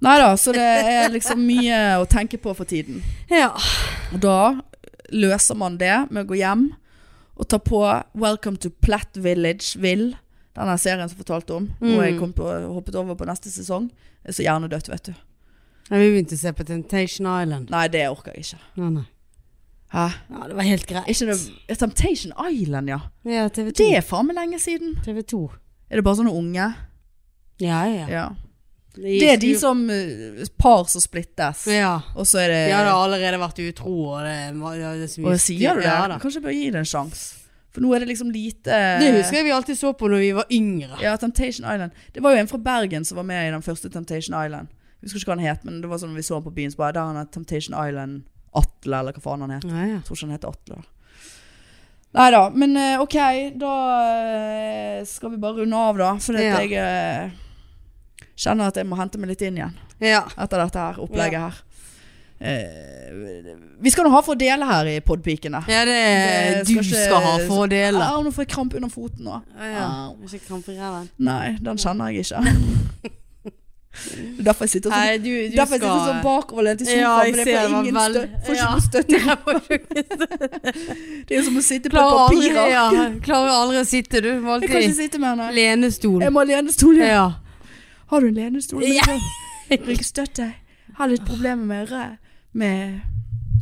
Speaker 2: Nei da, så det er liksom mye å tenke på for tiden.
Speaker 1: ja.
Speaker 2: Og da løser man det med å gå hjem og ta på Welcome to Platt Village Will. Denne serien som jeg fortalte om.
Speaker 1: Mm.
Speaker 2: Og jeg kom på, hoppet over på neste sesong. Det er så hjernedødt, vet du.
Speaker 1: Ja, Vi begynte å se på Temptation Island.
Speaker 2: Nei, det orker jeg ikke.
Speaker 1: Nei, nei.
Speaker 2: Hæ?
Speaker 1: Ja, det var helt greit.
Speaker 2: Ikke noe ja, Temptation Island, ja.
Speaker 1: Ja, TV 2.
Speaker 2: Det er faen meg lenge siden.
Speaker 1: TV 2.
Speaker 2: Er det bare sånne unge?
Speaker 1: Ja, ja.
Speaker 2: Ja. Det er de
Speaker 1: gikk jo-
Speaker 2: som eh, Par som splittes.
Speaker 1: Ja.
Speaker 2: Og så er det
Speaker 1: De hadde allerede vært utro, og det, var- ja, det er så mye
Speaker 2: Og Eh, sier du det?
Speaker 1: Ja, da.
Speaker 2: Kanskje jeg bør gi det en sjanse. For nå er det liksom lite
Speaker 1: Det husker jeg vi alltid så på når vi var yngre.
Speaker 2: Ja, Temptation Island. Det var jo en fra Bergen som var med i den første Temptation Island. Jeg husker ikke hva han het, men det var sånn vi så han på byen, så bare der han er Temptation Island Atle, eller hva faen han het.
Speaker 1: Ja, ja.
Speaker 2: Jeg tror ikke han heter Atle. Nei da, men eh, ok, da eh, skal vi bare runde av, da. For
Speaker 1: Ja.
Speaker 2: jeg eh, kjenner at jeg må hente meg litt inn igjen
Speaker 1: ja.
Speaker 2: etter dette her opplegget her. Eh, vi skal nå ha for å dele her i podpikene.
Speaker 1: Ja, det,
Speaker 2: Det
Speaker 1: du
Speaker 2: skal ikke-
Speaker 1: skal ha for å dele.
Speaker 2: Au, nå får jeg krampe under foten nå. Au.
Speaker 1: Ikke krampe i ræven.
Speaker 2: Nei, den kjenner
Speaker 1: [laughs]
Speaker 2: jeg ikke. Det er Derfor jeg sitter sånn,
Speaker 1: Nei, du, du
Speaker 2: derfor jeg
Speaker 1: skal
Speaker 2: sitter sånn bakoverlent i sofaen.
Speaker 1: Ja, jeg
Speaker 2: for
Speaker 1: ser
Speaker 2: jeg
Speaker 1: det
Speaker 2: får
Speaker 1: var
Speaker 2: ingen
Speaker 1: vel-
Speaker 2: støtte. Får ikke
Speaker 1: Ja.
Speaker 2: noe
Speaker 1: [laughs]
Speaker 2: støtte.
Speaker 1: Nei, får du ikke
Speaker 2: Det er som å sitte på
Speaker 1: [laughs] Klarer aldri,
Speaker 2: papirer.
Speaker 1: ja, klarer aldri å sitte, du. Må
Speaker 2: Jeg kan ikke
Speaker 1: alltid
Speaker 2: sitte med henne.
Speaker 1: lenestol.
Speaker 2: Jeg må ha lenestol. ja.
Speaker 1: Ja.
Speaker 2: Har du en lenestol?
Speaker 1: Ja.
Speaker 2: Ryggstøtte. Har litt problemer med, rø- med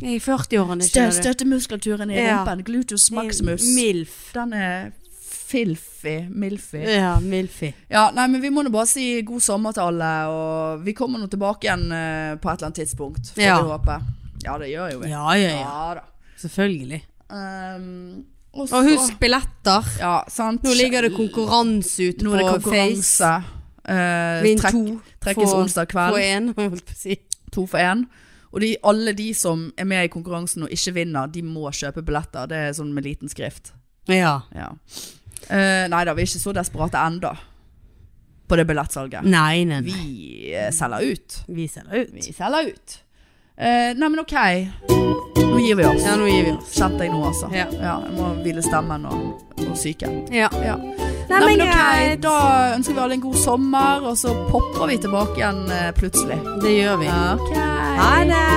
Speaker 1: Jeg er i 40-årene,
Speaker 2: stø-
Speaker 1: skjønner du.
Speaker 2: støttemuskulaturen i
Speaker 1: Ja.
Speaker 2: rumpen. Gluteus maximus.
Speaker 1: Milf.
Speaker 2: Den er filfy. Milfy.
Speaker 1: Ja, Milfi.
Speaker 2: Ja, nei, men vi må nå bare si god sommer til alle, og vi kommer nå tilbake igjen eh, på et eller annet tidspunkt, får
Speaker 1: Ja.
Speaker 2: vi håpe. Ja, det gjør jo vi.
Speaker 1: Ja, ja, ja.
Speaker 2: da.
Speaker 1: Selvfølgelig.
Speaker 2: Um, og så,
Speaker 1: Og husk billetter.
Speaker 2: Ja, sant.
Speaker 1: Nå ligger det konkurranse ute
Speaker 2: Nå er det
Speaker 1: på Face.
Speaker 2: konkurranse. Eh,
Speaker 1: Vinn
Speaker 2: trekk,
Speaker 1: to.
Speaker 2: trekkes
Speaker 1: få-
Speaker 2: onsdag
Speaker 1: På [laughs]
Speaker 2: kveld,
Speaker 1: én, holdt på å si.
Speaker 2: to for én. Og de, alle de som er med i konkurransen og ikke vinner, de må kjøpe billetter. Det er sånn med liten skrift.
Speaker 1: Ja.
Speaker 2: Ja. Eh, nei da, vi er ikke så desperate enda på det billettsalget.
Speaker 1: Nei, nei, nei.
Speaker 2: Vi eh, selger ut.
Speaker 1: Vi selger ut.
Speaker 2: Vi selger ut. Eh, nei, men ok. Nå gir vi oss.
Speaker 1: Ja, nå gir vi oss.
Speaker 2: Kjente jeg nå, altså.
Speaker 1: Ja.
Speaker 2: jeg må hvile stemmen og, og psyken.
Speaker 1: Ja.
Speaker 2: Ja.
Speaker 1: Nei, men greit.
Speaker 2: Da ønsker vi alle en god sommer, og så popper vi tilbake igjen eh, plutselig.
Speaker 1: Det gjør vi.
Speaker 2: Ok.
Speaker 1: Ha det.